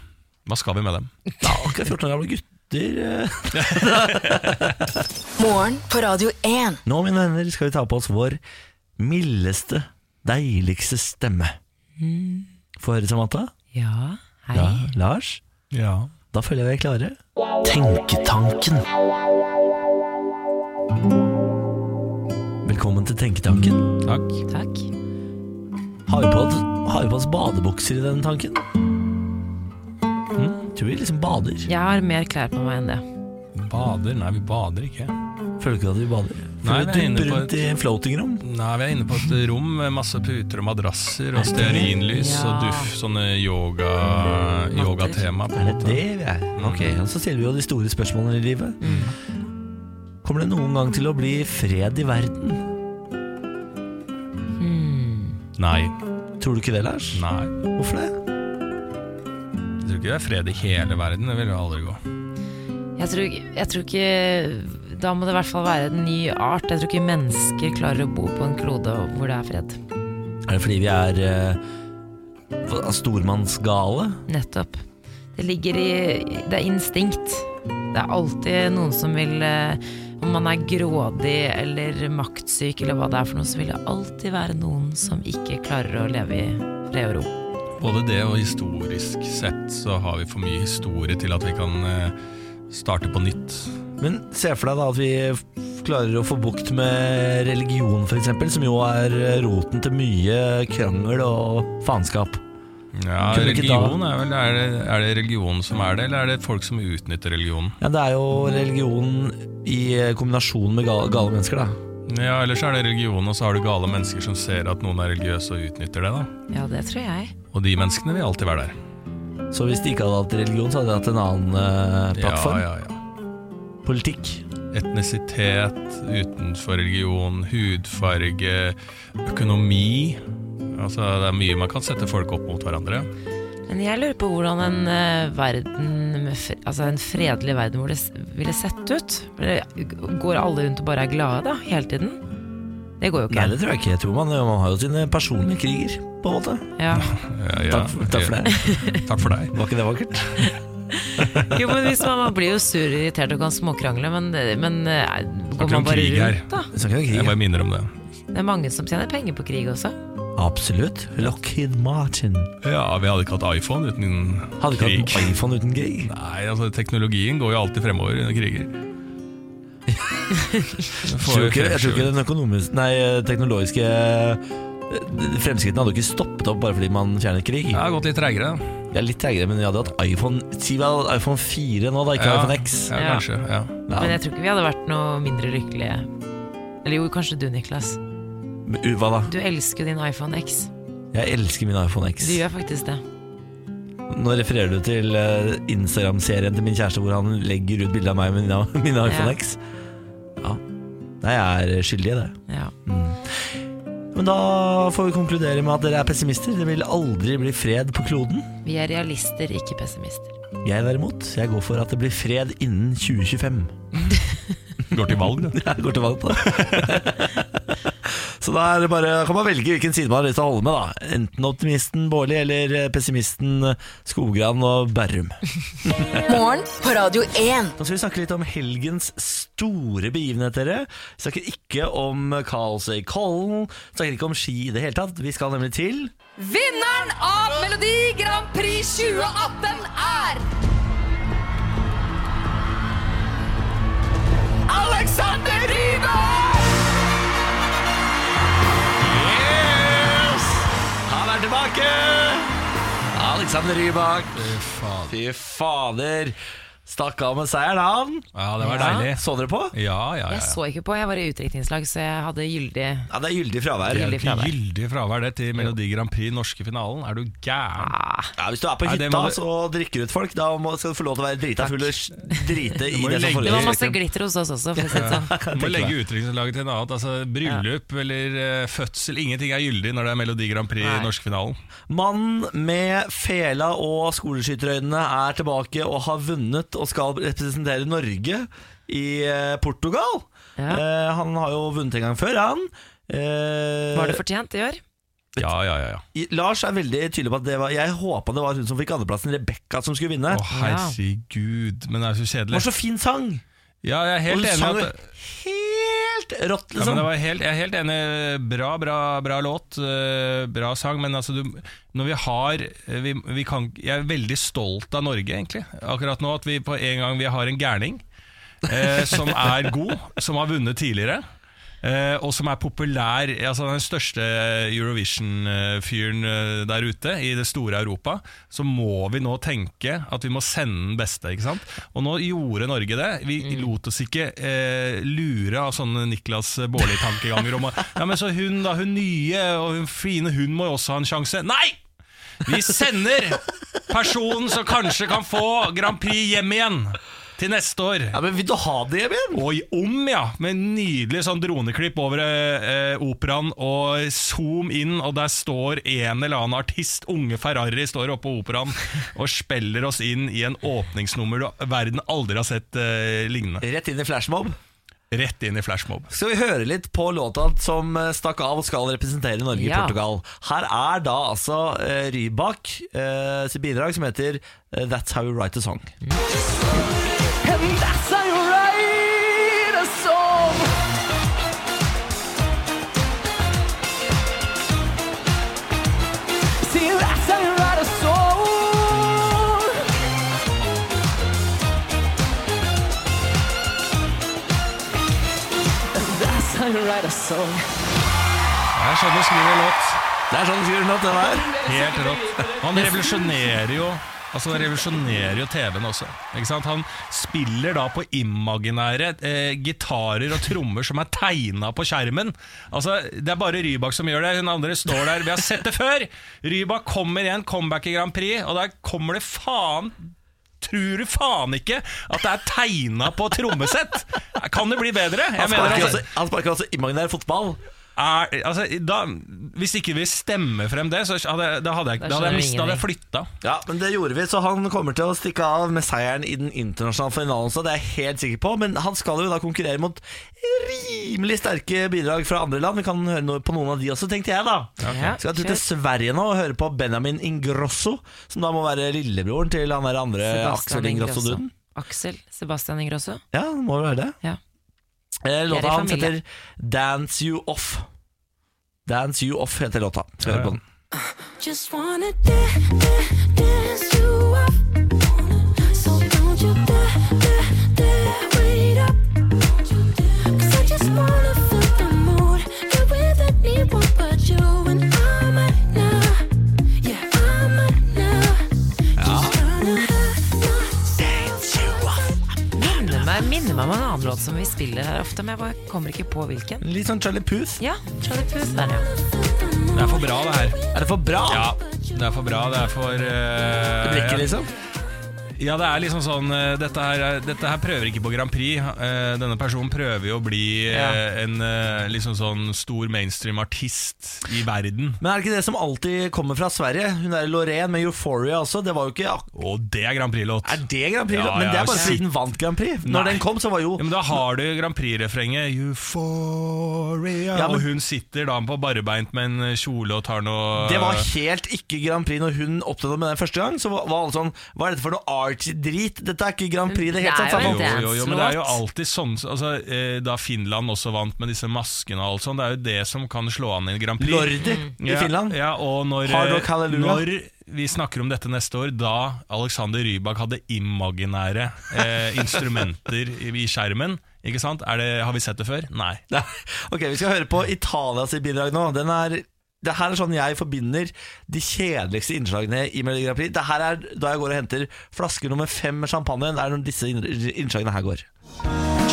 [SPEAKER 2] Hva skal vi med dem?
[SPEAKER 1] Da er ikke 14 år gamle gutter eh.
[SPEAKER 4] Morgen på Radio 1.
[SPEAKER 1] Nå, mine venner, skal vi ta på oss vår mildeste, deiligste stemme. Mm. Få høre, Samantha.
[SPEAKER 3] Ja, hei.
[SPEAKER 1] Ja, Lars.
[SPEAKER 2] Ja.
[SPEAKER 1] Da føler jeg vi er klare. Tenketanken. Velkommen til Tenketanken.
[SPEAKER 2] Takk.
[SPEAKER 3] Takk.
[SPEAKER 1] Har vi på, har vi på oss badebukser i den tanken? Mm, tror vi liksom bader.
[SPEAKER 3] Jeg har mer klær på meg enn det.
[SPEAKER 2] Bader? Nei, vi bader ikke.
[SPEAKER 1] Føler du ikke at vi bader? Føler
[SPEAKER 2] Nei, vi
[SPEAKER 1] du
[SPEAKER 2] er
[SPEAKER 1] at vi
[SPEAKER 2] inne på
[SPEAKER 1] dumper rundt i floatingrom?
[SPEAKER 2] Nei, vi er inne på et rom med masse puter og madrasser og stearinlys
[SPEAKER 3] Ja.
[SPEAKER 2] og duft, sånne yoga, yogatema. på en
[SPEAKER 1] Er det
[SPEAKER 2] måte.
[SPEAKER 1] det vi er?
[SPEAKER 2] Mm.
[SPEAKER 1] Ok, og Så stiller vi jo de store spørsmålene i livet. Kommer det noen gang til å bli fred i verden?
[SPEAKER 3] Mm.
[SPEAKER 2] Nei.
[SPEAKER 1] Tror du ikke det, Lars?
[SPEAKER 2] Nei.
[SPEAKER 1] Hvorfor det?
[SPEAKER 2] Jeg tror ikke det er fred i hele verden. Det vil jo aldri gå.
[SPEAKER 3] Jeg tror, jeg tror ikke Da må det i hvert fall være en ny art. Jeg tror ikke mennesker klarer å bo på en klode hvor det er fred.
[SPEAKER 1] Er det fordi vi er eh, hva- stormannsgale?
[SPEAKER 3] Nettopp. Det ligger i Det er instinkt. Det er alltid noen som vil eh, Om man er grådig eller maktsyk eller hva det er for noe, så vil det alltid være noen som ikke klarer å leve i fred og ro.
[SPEAKER 2] Både det og historisk sett så har vi for mye historie til at vi kan eh, starte på nytt.
[SPEAKER 1] Men se for deg da at vi f- klarer å få bukt med religion f.eks., som jo er roten til mye krangel og faenskap.
[SPEAKER 2] Ja,
[SPEAKER 1] Kunne ikke da-
[SPEAKER 2] religion er vel er det, er det religion som er det, eller er det folk som utnytter religionen?
[SPEAKER 1] Ja, det er jo religion i kombinasjon med gale, gale mennesker, da.
[SPEAKER 2] Ja, ellers er det religion, og så har du gale mennesker som ser at noen er religiøse og utnytter det, da.
[SPEAKER 3] Ja, det tror jeg.
[SPEAKER 2] Og de menneskene vil alltid være der.
[SPEAKER 1] Så hvis de ikke hadde hatt religion, så hadde de hatt en annen eh, plattform.
[SPEAKER 2] Ja, ja, ja.
[SPEAKER 1] Politikk.
[SPEAKER 2] etnisitet utenfor religion, hudfarge, økonomi. Altså, det er mye man kan sette folk opp mot hverandre.
[SPEAKER 3] Men jeg lurer på hvordan en eh, verden med fr- Altså en fredelig verden hvor det s- ville sett ut. For det- Går alle rundt og bare er glade da, hele tiden? Det går jo
[SPEAKER 1] Nei,
[SPEAKER 3] ikke.
[SPEAKER 1] det tror jeg ikke. Jeg tror man, man har jo sine personlige kriger, på en måte.
[SPEAKER 3] Ja.
[SPEAKER 2] Ja, Eh, ja.
[SPEAKER 1] Takk, takk for det.
[SPEAKER 2] Takk for deg.
[SPEAKER 1] Var ikke det vakkert?
[SPEAKER 3] Jo, men hvis man, man blir jo sur og irritert og kan småkrangle, men, men eh,
[SPEAKER 2] ikke
[SPEAKER 3] går man
[SPEAKER 2] om
[SPEAKER 3] bare
[SPEAKER 2] krig her.
[SPEAKER 3] rundt, da?
[SPEAKER 1] Vi snakker om
[SPEAKER 2] Jeg
[SPEAKER 1] krig.
[SPEAKER 2] bare minner om det.
[SPEAKER 3] Det er mange som tjener penger på krig også.
[SPEAKER 1] Absolutt. Lockheed Martin.
[SPEAKER 2] Ja, vi hadde ikke hatt iPhone uten
[SPEAKER 1] Hadde ikke
[SPEAKER 2] krig.
[SPEAKER 1] hatt en iPhone uten krig.
[SPEAKER 2] Nei, altså teknologien går jo alltid fremover under kriger. Det
[SPEAKER 1] Jeg
[SPEAKER 2] får
[SPEAKER 1] tror ikke, jeg tror
[SPEAKER 2] jo
[SPEAKER 1] ikke
[SPEAKER 2] fremskritt.
[SPEAKER 1] den økonomiske Nei, teknologiske eh, Fremskrittene hadde jo ikke stoppet opp bare fordi man fjernet krig.
[SPEAKER 2] Det har gått litt treigere. da.
[SPEAKER 1] Jeg er litt treigere, men vi hadde hatt iPhone Si vi hadde hatt iPhone 4 nå, da, ikke
[SPEAKER 2] Ja.
[SPEAKER 1] iPhone X.
[SPEAKER 2] Ja,
[SPEAKER 3] Ja.
[SPEAKER 2] kanskje. Ja.
[SPEAKER 1] Ja.
[SPEAKER 3] Men jeg tror ikke vi hadde vært noe mindre lykkelige. Eller jo, kanskje du, Niklas.
[SPEAKER 1] Men u- Hva da?
[SPEAKER 3] Du elsker jo din iPhone X.
[SPEAKER 1] Jeg elsker min iPhone X.
[SPEAKER 3] Du gjør faktisk det.
[SPEAKER 1] Nå refererer du til eh, Instagram-serien til min kjæreste hvor han legger ut bilde av meg med mine, mine iPhone
[SPEAKER 3] Ja.
[SPEAKER 1] X. Ja. Nei, jeg er skyldig i det. Mm.
[SPEAKER 3] Ja.
[SPEAKER 1] Men da får vi konkludere med at dere er pessimister. Det vil aldri bli fred på kloden.
[SPEAKER 3] Vi er realister, ikke pessimister.
[SPEAKER 1] Jeg derimot, jeg går for at det blir fred innen 2025.
[SPEAKER 2] Går til valg, du.
[SPEAKER 1] Jeg går til valg på det. Så da er det bare, da kan man velge hvilken side man har lyst til å holde med. da Enten optimisten Bårli eller pessimisten Skogran og Berrum.
[SPEAKER 4] Morgen på Radio 1.
[SPEAKER 1] Nå skal vi snakke litt om helgens store begivenhet, dere. Vi snakker ikke om kaoset i Kollen, vi snakker ikke om ski i det hele tatt. Vi skal nemlig til
[SPEAKER 5] Vinneren av Melodi Grand Prix 2018 er Alexander Rybak!
[SPEAKER 1] Yes! Han er tilbake! Alexander Rybak. Fy fader. Stakk av med seier, da. han.
[SPEAKER 2] Ja, det var
[SPEAKER 3] Ja.
[SPEAKER 2] deilig.
[SPEAKER 1] Så dere på?
[SPEAKER 2] Ja, ja, ja.
[SPEAKER 3] Jeg så ikke på, jeg var i utdrikningslag, så jeg hadde gyldig
[SPEAKER 1] Ja, Det er gyldig fravær.
[SPEAKER 3] Gyldig.
[SPEAKER 1] Ja,
[SPEAKER 2] Gyldig
[SPEAKER 3] fravær.
[SPEAKER 2] fravær. Gyldig fravær det til Melodi Grand Prix norske finalen. Er du gæren?
[SPEAKER 3] Ah.
[SPEAKER 1] Hvis du er på
[SPEAKER 2] Nei,
[SPEAKER 1] hytta
[SPEAKER 2] det må du-
[SPEAKER 1] og drikker ut folk, da må, skal du få lov til å være drita full og sj- drite i
[SPEAKER 2] må
[SPEAKER 1] det som
[SPEAKER 2] jo legge-
[SPEAKER 3] Det var
[SPEAKER 1] foregår.
[SPEAKER 3] masse glitter hos oss også, for å si det sånn.
[SPEAKER 2] Du må legge utdrikningslaget til en annen. Altså, bryllup eller eh, fødsel, ingenting er gyldig når det er Melodi Grand Prix
[SPEAKER 3] Nei.
[SPEAKER 2] norske finalen.
[SPEAKER 1] Mannen med fela og skoleskytterøynene er tilbake og har vunnet og skal representere Norge i eh, Portugal.
[SPEAKER 3] Ja.
[SPEAKER 1] Eh, han har jo vunnet en gang før, han. Eh,
[SPEAKER 3] Var det fortjent i år?
[SPEAKER 2] Ja, ja, ja. ja.
[SPEAKER 1] I- Lars er veldig tydelig på at det var Jeg håpa det var hun som fikk andreplassen, Rebekka, som skulle vinne.
[SPEAKER 2] Å, herregud. Men det er
[SPEAKER 1] det
[SPEAKER 2] så kjedelig.
[SPEAKER 1] var så fin sang!
[SPEAKER 2] Ja, jeg er
[SPEAKER 1] Og
[SPEAKER 2] helt
[SPEAKER 1] hun
[SPEAKER 2] enig.
[SPEAKER 1] sang
[SPEAKER 2] i
[SPEAKER 1] jo
[SPEAKER 2] At,
[SPEAKER 1] helt rått,
[SPEAKER 2] ja, men
[SPEAKER 1] liksom.
[SPEAKER 2] det var helt, jeg er helt enig. Bra, bra, bra låt, eh, bra sang. Men altså, du, når vi har eh, vi, vi kan, Jeg er veldig stolt av Norge, egentlig. Akkurat nå at vi på en gang vi har en gærning eh, som er god, som har vunnet tidligere. eh, og som er populær, altså den største Eurovision-fyren eh, der ute i det store Europa, så må vi nå tenke at vi må sende den beste. ikke sant? Og nå gjorde Norge det. Vi lot oss ikke eh, lure av sånne Niklas Baarli-tankeganger om at ja, men så hun da, hun nye og hun fine, hun må jo også ha en sjanse. Nei! Vi sender personen som kanskje kan få Grand Prix hjem igjen til neste år.
[SPEAKER 1] Ja, men Vil du ha det, Even?
[SPEAKER 2] Og i om, ja! Med nydelig sånn droneklipp over eh, operaen og zoom inn, og der står en eller annen artist, unge Ferrari, står oppe på operaen og spiller oss inn i en åpningsnummer du verden aldri har sett eh, lignende.
[SPEAKER 1] Rett inn i flashmob.
[SPEAKER 2] Rett inn i flashmob.
[SPEAKER 1] Skal vi høre litt på låta som eh, stakk av og skal representere Norge i
[SPEAKER 3] Ja.
[SPEAKER 1] Portugal. Her er da altså eh, Rybak eh, sitt bidrag som heter eh, That's How You Write A Song.
[SPEAKER 2] Det er sånn du skriver låt.
[SPEAKER 1] Det er sånn fyren at den er.
[SPEAKER 2] Helt rått. Han revolusjonerer jo Altså Han revolusjonerer jo TV-en også. Ikke sant? Han spiller da på imaginære eh, gitarer og trommer som er tegna på skjermen. Altså Det er bare Rybak som gjør det. Hun andre står der. Vi har sett det før! Rybak kommer igjen, comeback i Grand Prix, og der kommer det faen Tror du faen ikke at det er tegna på trommesett?! Kan det bli bedre? Jeg
[SPEAKER 1] Han sparker,
[SPEAKER 2] altså-
[SPEAKER 1] altså, han sparker altså imaginær fotball.
[SPEAKER 2] er, altså, da, hvis ikke vi stemmer frem det, så hadde, jeg- da hadde jeg,
[SPEAKER 3] Da
[SPEAKER 2] da hadde jeg,
[SPEAKER 3] skjønner
[SPEAKER 2] mist- da hadde jeg flytta.
[SPEAKER 1] Ja, men det gjorde vi, så han kommer til å stikke av med seieren i den internasjonale finalen. Så det er jeg helt sikker på Men han skal jo da konkurrere mot rimelig sterke bidrag fra andre land. Vi kan høre noe på noen av de også, tenkte jeg, da.
[SPEAKER 3] Ja,
[SPEAKER 1] Skal jeg tur
[SPEAKER 3] kjør.
[SPEAKER 1] til Sverige nå og høre på Benjamin Ingrosso, som da må være lillebroren til han der andre Eh, Aksel Ingrosso-duden.
[SPEAKER 3] Aksel Sebastian Ingrosso.
[SPEAKER 1] Ja, det må vel være det.
[SPEAKER 3] Ja.
[SPEAKER 1] Eh,
[SPEAKER 3] i
[SPEAKER 1] Låta hans
[SPEAKER 3] familie.
[SPEAKER 1] heter 'Dance You Off'. Dance You Off heter låta. Skal
[SPEAKER 2] Ja,
[SPEAKER 1] høre på
[SPEAKER 2] ja.
[SPEAKER 1] den.
[SPEAKER 6] Just wanna da- da- dance you up. So don't you dare, dare, dare wait up. 'Cause I just wanna feel the mood. Get with anyone but you and I'm right now. Yeah, I'm right now. Just gonna have myself a-
[SPEAKER 3] Minner meg, minner meg om en annen låt som vi spiller her ofte, men jeg bare kommer ikke på hvilken.
[SPEAKER 1] Litt sånn Charlie Puth.
[SPEAKER 3] Ja, Charlie Puth der, ja.
[SPEAKER 2] Det er for bra, det her.
[SPEAKER 1] Er det for bra?
[SPEAKER 2] Ja, det er for bra. Det er for eh,
[SPEAKER 1] Det Drikker, liksom?
[SPEAKER 2] Ja, det er liksom sånn eh, Dette her, er- dette her prøver ikke på Grand Prix. Eh, denne personen prøver jo å bli eh, en eh, liksom sånn stor mainstream-artist i verden.
[SPEAKER 1] Men er det ikke det som alltid kommer fra Sverige? Hun der Lorraine med Euphoria også. Det var jo ikke ak-
[SPEAKER 2] Og det er Grand Prix-låt.
[SPEAKER 1] Er det Grand Prix?
[SPEAKER 2] Ja,
[SPEAKER 1] men det
[SPEAKER 2] ja,
[SPEAKER 1] er bare
[SPEAKER 2] shit.
[SPEAKER 1] fordi den vant Grand Prix. Når
[SPEAKER 2] Nei.
[SPEAKER 1] den kom, så var jo
[SPEAKER 2] Ja, men Da har du Grand Prix-refrenget. Euphoria
[SPEAKER 1] Ja, men-
[SPEAKER 2] Og hun sitter da på barbeint med en kjole og tar noe
[SPEAKER 1] Det var helt ikke Grand Prix når hun opptrådte med den første gang. Så var var alle sånn Hva er dette for noe arty-drit? Dette er ikke Grand Prix. Det er
[SPEAKER 3] Det
[SPEAKER 1] helt
[SPEAKER 3] er
[SPEAKER 1] sant.
[SPEAKER 3] jo
[SPEAKER 1] sa
[SPEAKER 2] jo,
[SPEAKER 1] folk.
[SPEAKER 3] en
[SPEAKER 2] jo, jo, men det er jo
[SPEAKER 3] dance-låt.
[SPEAKER 2] alltid sånn altså, eh, Da Finland også vant med disse maskene og alt sånt, det er jo det som kan slå an i Grand Prix.
[SPEAKER 1] Lordi i
[SPEAKER 2] Ja,
[SPEAKER 1] Finland.
[SPEAKER 2] Ja, og når,
[SPEAKER 1] Hard
[SPEAKER 2] eh,
[SPEAKER 1] Rock Hallelujah.
[SPEAKER 2] når vi snakker om dette neste år, da Alexander Rybak hadde imaginære eh, instrumenter i, i skjermen, ikke sant? Er det, har vi sett det før? Nei.
[SPEAKER 1] Nei. Ok, Vi skal høre på Italias bidrag nå. Den er Det her er sånn jeg forbinder de kjedeligste innslagene i Melodi Grand Prix. Det her er da jeg går og henter flaske nummer fem med champagne. Det er når disse inn- innslagene her går.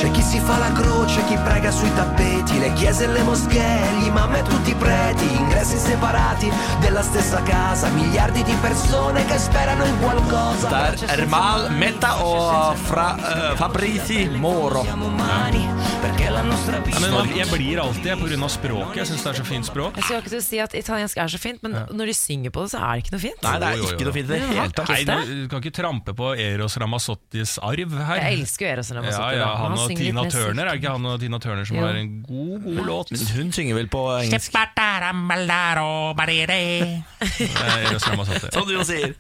[SPEAKER 7] C'è chi si fa la croce, chi prega sui tappeti, le chiese e le moschee, gli imam e tutti i preti, ingressi separati della stessa casa, miliardi di persone che sperano in qualcosa.
[SPEAKER 1] Der er Mal Metta og fra eh, Fabrizi Moro.
[SPEAKER 7] Siamo umani, perché la nostra vita
[SPEAKER 2] Men man, jeg blir alltid pga. språket. Jeg syns det er så fint språk.
[SPEAKER 3] Jeg skal ikke til å si at italiensk er så fint, men når de synger på det, så er det ikke noe fint.
[SPEAKER 1] Nei, det er
[SPEAKER 2] Jo, jo, jo.
[SPEAKER 1] ikke noe fint i det hele tatt.
[SPEAKER 2] Nei,
[SPEAKER 3] Syns det?
[SPEAKER 2] Du du kan ikke trampe på Eros Ramazottis arv her.
[SPEAKER 3] Jeg elsker jo Eros Ramazzotti.
[SPEAKER 2] Ja, ja,
[SPEAKER 3] da.
[SPEAKER 2] han og
[SPEAKER 3] synger litt
[SPEAKER 2] Tina
[SPEAKER 3] mer
[SPEAKER 2] Turner, er det ikke han og Tina Turner som
[SPEAKER 3] Jo.
[SPEAKER 2] har en god, god låt?
[SPEAKER 1] Hun synger vel på engelsk.
[SPEAKER 2] Eh, Eros Ramazzotti.
[SPEAKER 1] Som du jo sier.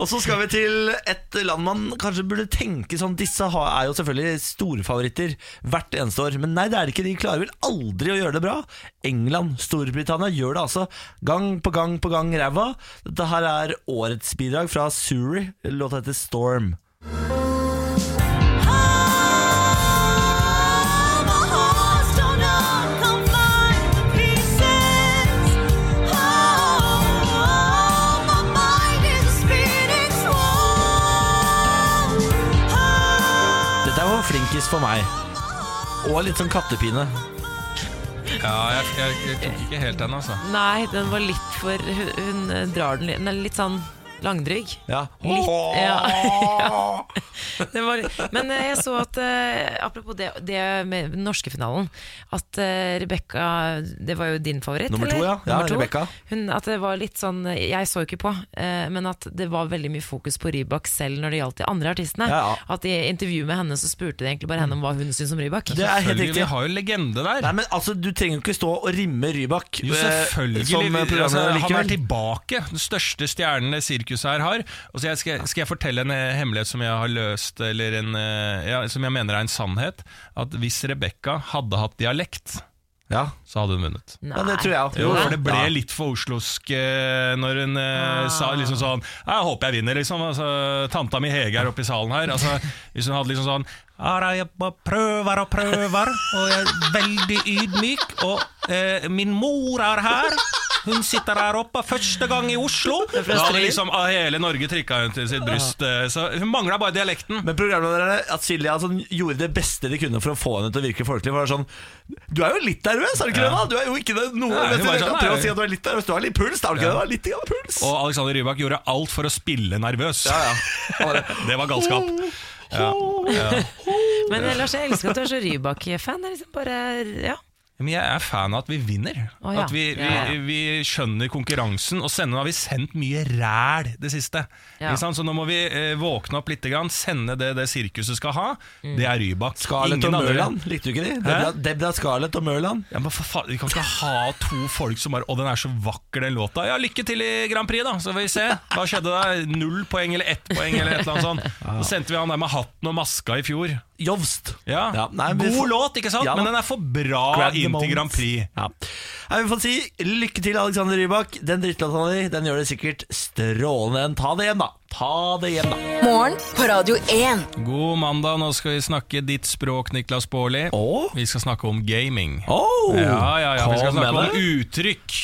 [SPEAKER 1] Og så skal vi til et land man kanskje burde tenke sånn Disse har- er jo selvfølgelig storfavoritter hvert eneste år, men nei, det er det ikke. De klarer vel aldri å gjøre det bra. England, Storbritannia gjør det altså gang på gang på gang ræva. Dette her er årets bidrag fra Suri. Låta heter Storm.
[SPEAKER 6] Oh,
[SPEAKER 1] Dette var flinkest for meg. Og litt sånn kattepine.
[SPEAKER 2] Ja, jeg, jeg, jeg tok ikke helt den, altså.
[SPEAKER 3] sånn- Nei, den var litt for Hun, hun eh, drar den litt Den er litt sånn langdrygg.
[SPEAKER 1] Ja.
[SPEAKER 3] Litt, ja. Den var, men eh, jeg så at eh, Apropos det, det med den norske finalen At eh, Rebecca Det var jo din favoritt,
[SPEAKER 1] Nummer to,
[SPEAKER 3] eller?
[SPEAKER 1] ja. Ja,
[SPEAKER 3] Nummer to.
[SPEAKER 1] Rebecca.
[SPEAKER 3] Hun, At det var litt sånn eh, Jeg så jo ikke på eh, Men at det var veldig mye fokus på Rybak selv Når det gjaldt de andre artistene
[SPEAKER 1] Ja, ja.
[SPEAKER 3] At i intervju med henne så spurte de egentlig bare henne Om hva hun syntes om Rybak
[SPEAKER 1] Det er helt
[SPEAKER 2] Selvfølgelig,
[SPEAKER 1] riktig.
[SPEAKER 2] Vi har jo en legende der.
[SPEAKER 1] Nei, men altså, Du trenger jo ikke stå og rimme Rybak.
[SPEAKER 2] Jo,
[SPEAKER 1] eh,
[SPEAKER 2] selvfølgelig.
[SPEAKER 1] Som
[SPEAKER 2] Vi-
[SPEAKER 1] programmet
[SPEAKER 2] altså, han er
[SPEAKER 1] likevel.
[SPEAKER 2] tilbake. Den største stjernen det sirkuset her har. Og så jeg skal, skal jeg fortelle en eh, hemmelighet som jeg har løst, eller en, eh, ja, som jeg mener er en sannhet. At hvis Rebekka hadde hatt dialekt,
[SPEAKER 1] Ja.
[SPEAKER 2] så hadde hun vunnet.
[SPEAKER 3] Nei.
[SPEAKER 1] ja, det tror jeg òg.
[SPEAKER 2] Jo, for det ble
[SPEAKER 1] Ja. Ah.
[SPEAKER 2] litt for oslosk eh, når hun eh, sa liksom sånn Jeg håper jeg vinner, liksom. Altså, tanta mi Hege er oppe i salen her. Altså, hvis hun hadde liksom sånn «Ara, jeg bare prøver og prøver, og jeg er veldig ydmyk. Og eh, min mor er her. Hun sitter her oppe første gang i Oslo. Da hadde liksom ah, hele Norge trykka hun til sitt bryst. eh, Så hun mangla bare dialekten.
[SPEAKER 1] Men programlederne at Silja sånn, gjorde det beste de kunne for å få henne til å virke folkelig. For det var sånn, Du er jo litt nervøs, er du ikke det? da? Du er jo ikke det, noe,
[SPEAKER 2] Nei,
[SPEAKER 1] vet
[SPEAKER 2] hun
[SPEAKER 1] du,
[SPEAKER 2] var
[SPEAKER 1] jeg
[SPEAKER 2] sånn,
[SPEAKER 1] kan prøve
[SPEAKER 2] nei.
[SPEAKER 1] å si at du er litt nervøs. Du har litt puls, er du ikke det? da? Litt grann puls.
[SPEAKER 2] Og Alexander Rybak gjorde alt for å spille nervøs.
[SPEAKER 1] ja, ja. Han bare,
[SPEAKER 2] Det var galskap. Ja.
[SPEAKER 3] Men eh, Lars, jeg elsker at du er så Rybak-fan Det er liksom bare, ja
[SPEAKER 2] Men jeg er fan av at vi vinner.
[SPEAKER 3] Å, ja.
[SPEAKER 2] At vi, vi,
[SPEAKER 3] Ja, ja.
[SPEAKER 2] vi skjønner konkurransen. Og sende, nå har vi sendt mye ræl det siste.
[SPEAKER 3] Ja.
[SPEAKER 2] Ikke sant? Så nå må vi eh, våkne opp litt. Grann, sende det det sirkuset skal ha.
[SPEAKER 3] Mm.
[SPEAKER 2] Det er Rybak.
[SPEAKER 1] Scarlett og
[SPEAKER 2] Ingen andre.
[SPEAKER 1] Mørland, likte du ikke de? Debra, Debra Scarlett og Mørland.
[SPEAKER 2] Ja, men for faen, Vi kan ikke ha to folk som bare Å, den er så vakker, den låta. Ja, lykke til i Grand Prix, da, så får vi se. Hva skjedde der? Null poeng eller ett poeng eller et eller annet sånt. Så sendte vi han der med hatten og maska i fjor.
[SPEAKER 1] Jovst.
[SPEAKER 2] Ja,
[SPEAKER 1] nei, vi
[SPEAKER 2] God
[SPEAKER 1] får-
[SPEAKER 2] låt, ikke sant?
[SPEAKER 1] Ja, da.
[SPEAKER 2] men den er for bra
[SPEAKER 1] Grab the
[SPEAKER 2] inn
[SPEAKER 1] moment.
[SPEAKER 2] til Grand Prix.
[SPEAKER 1] Ja. Nei, vi får si lykke til, Alexander Rybak. Den drittlåta di den gjør det sikkert strålende. Ta det hjem, da. Ta det hjem, da.
[SPEAKER 4] Morgen på Radio 1.
[SPEAKER 2] God mandag, nå skal vi snakke ditt språk, Niklas Baarli.
[SPEAKER 1] Å?
[SPEAKER 2] Vi skal snakke om gaming.
[SPEAKER 1] Oh,
[SPEAKER 2] Ja, ja, ja, Vi skal
[SPEAKER 1] kom med
[SPEAKER 2] snakke om
[SPEAKER 1] det.
[SPEAKER 2] uttrykk.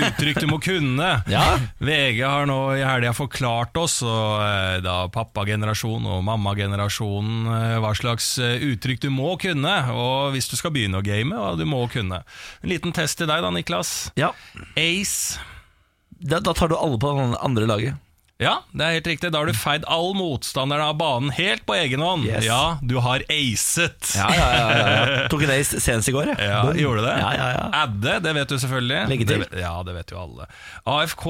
[SPEAKER 2] Uttrykk du må kunne.
[SPEAKER 1] Ja.
[SPEAKER 2] VG har nå i helga forklart oss, og eh, da pappagenerasjonen og mammagenerasjonen, eh, hva slags eh, uttrykk du må kunne. Og hvis du skal begynne å game, hva du må kunne. En liten test til deg da, Niklas.
[SPEAKER 1] ja.
[SPEAKER 2] Ace.
[SPEAKER 1] Da, da tar du alle på det andre laget.
[SPEAKER 2] Ja, det er helt riktig. Da har du feid all motstanderen av banen helt på egen hånd.
[SPEAKER 1] Yes.
[SPEAKER 2] Ja, du har acet.
[SPEAKER 1] Ja, ja, ja, ja, ja. Tok en ace senest i går. jeg.
[SPEAKER 2] Ja,
[SPEAKER 1] Boom.
[SPEAKER 2] Gjorde du det?
[SPEAKER 1] Ja, ja, ja.
[SPEAKER 2] Adde, det vet du selvfølgelig.
[SPEAKER 1] Legge til.
[SPEAKER 2] Det ve- ja, det vet jo alle. AFK,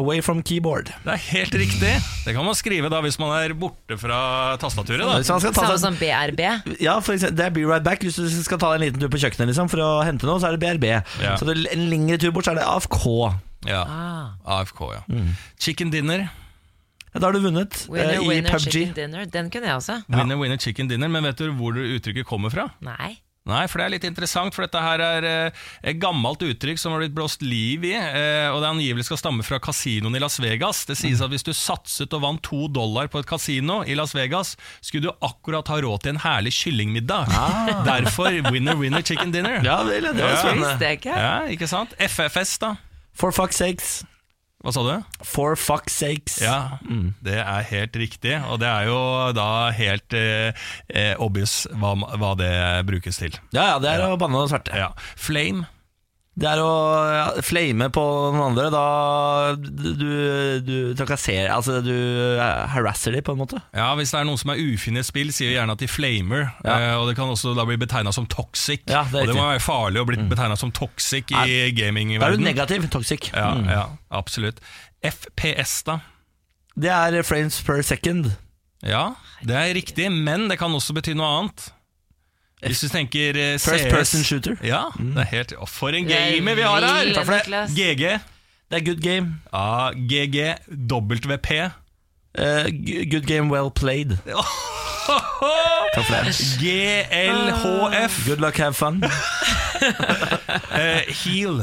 [SPEAKER 1] Away from keyboard.
[SPEAKER 2] det er helt riktig. Det kan man skrive da hvis man er borte fra tastaturet. da
[SPEAKER 1] Hvis man skal ta
[SPEAKER 3] Samme
[SPEAKER 1] seg,
[SPEAKER 3] som BRB
[SPEAKER 1] ja, for eksempel, det er Be Right Back. Hvis du skal ta deg en liten tur på kjøkkenet liksom, for å hente noe, så er det BRB.
[SPEAKER 2] Ja.
[SPEAKER 1] Så det er en lengre tur bort, så er det AFK.
[SPEAKER 2] Ja,
[SPEAKER 3] Ah.
[SPEAKER 2] AFK, ja.
[SPEAKER 1] Mm.
[SPEAKER 2] Chicken dinner.
[SPEAKER 1] Ja, da har du vunnet eh,
[SPEAKER 3] Winner,
[SPEAKER 1] i
[SPEAKER 3] winner, chicken
[SPEAKER 1] PubG.
[SPEAKER 3] dinner Den kunne jeg også
[SPEAKER 2] Winner, winner, chicken dinner. Men vet du hvor uttrykket kommer fra?
[SPEAKER 3] Nei
[SPEAKER 2] Nei, for det er litt interessant, for dette her er eh, et gammelt uttrykk som har blitt blåst liv i, eh, og det angivelig skal stamme fra kasinoen i Las Vegas. Det
[SPEAKER 1] Mm.
[SPEAKER 2] sies at hvis du satset og vant to dollar på et kasino i Las Vegas, skulle du akkurat ha råd til en herlig kyllingmiddag. Derfor winner, winner, chicken dinner.
[SPEAKER 1] Ah. Ja vel, ja, det var
[SPEAKER 2] Ja.
[SPEAKER 3] Det
[SPEAKER 1] spennende.
[SPEAKER 3] visste jeg ikke
[SPEAKER 2] Ja, ikke sant? FFS, da.
[SPEAKER 1] For fuck's sakes.
[SPEAKER 2] Hva sa du?
[SPEAKER 1] For fuck's sakes.
[SPEAKER 2] Ja, det er helt riktig. Og det er jo da helt eh, eh, obvious hva, hva det brukes til.
[SPEAKER 1] ja, ja, det er å banne og sverte.
[SPEAKER 2] Ja. Flame.
[SPEAKER 1] Det er å ja, flame på noen andre. Da du, du trakasserer Altså, du eh, harasser dem, på en måte.
[SPEAKER 2] Ja, Hvis det er noen som er ufin i et spill, sier vi gjerne at de flamer.
[SPEAKER 1] Ja.
[SPEAKER 2] eh, Og det kan også da bli betegna som toxic.
[SPEAKER 1] Ja, det er
[SPEAKER 2] og det
[SPEAKER 1] riktig. Mm.
[SPEAKER 2] må være farlig å bli betegna som toxic i
[SPEAKER 1] Da er du
[SPEAKER 2] gamingverdenen.
[SPEAKER 1] negativ. Toxic.
[SPEAKER 2] Ja,
[SPEAKER 1] Mm.
[SPEAKER 2] ja, absolutt. FPS, da.
[SPEAKER 1] Det er frames per second.
[SPEAKER 2] Ja, det er riktig, men det kan også bety noe annet. Hvis du tenker eh, CS
[SPEAKER 1] First person shooter. Mm.
[SPEAKER 2] Ja, det er helt Å, For en
[SPEAKER 3] Det er
[SPEAKER 2] gamer vi har her!
[SPEAKER 3] vill,
[SPEAKER 2] Takk for det.
[SPEAKER 3] Niklas.
[SPEAKER 2] GG.
[SPEAKER 1] Det er good game.
[SPEAKER 2] Ja, GG, WP.
[SPEAKER 1] Eh, g- good game well played. Takk for det.
[SPEAKER 2] GLHF.
[SPEAKER 1] Good luck, have fun. Nei,
[SPEAKER 2] Eh, heal.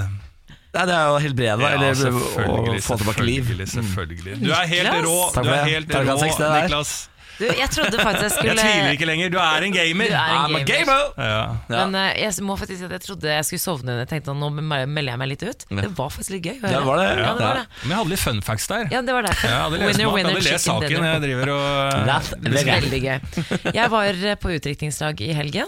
[SPEAKER 1] det er jo å helbrede, da.
[SPEAKER 2] Ja,
[SPEAKER 1] eller å
[SPEAKER 2] selvfølgelig,
[SPEAKER 1] få tilbake liv. Mm.
[SPEAKER 2] selvfølgelig, Selvfølgelig. Du er helt
[SPEAKER 3] Niklas.
[SPEAKER 2] rå,
[SPEAKER 1] Takk
[SPEAKER 2] du
[SPEAKER 1] for
[SPEAKER 2] er
[SPEAKER 1] det.
[SPEAKER 2] helt
[SPEAKER 1] Takk for
[SPEAKER 2] rå,
[SPEAKER 1] at jeg fikk det der.
[SPEAKER 2] Niklas.
[SPEAKER 3] Du, jeg trodde faktisk jeg
[SPEAKER 2] Jeg
[SPEAKER 3] skulle
[SPEAKER 2] tviler ikke lenger. Du er en gamer.
[SPEAKER 3] Du er en
[SPEAKER 2] I'm a
[SPEAKER 3] gamer.
[SPEAKER 2] Ja.
[SPEAKER 1] Ja.
[SPEAKER 3] Men eh, jeg må faktisk si at jeg trodde jeg skulle sovne. Jeg tenkte at nå me- melder jeg meg litt ut. Det var faktisk litt gøy. å høre.
[SPEAKER 1] Ja, det var det.
[SPEAKER 3] Ja, det var det.
[SPEAKER 2] Men jeg hadde litt fun facts der.
[SPEAKER 3] Ja, det var derfor.
[SPEAKER 2] Jeg hadde lest, jeg hadde lest
[SPEAKER 3] chicken
[SPEAKER 2] saken. Jeg driver og
[SPEAKER 1] That- eh, det er greit.
[SPEAKER 3] Veldig gøy. Jeg var eh, på utdrikningslag i helgen.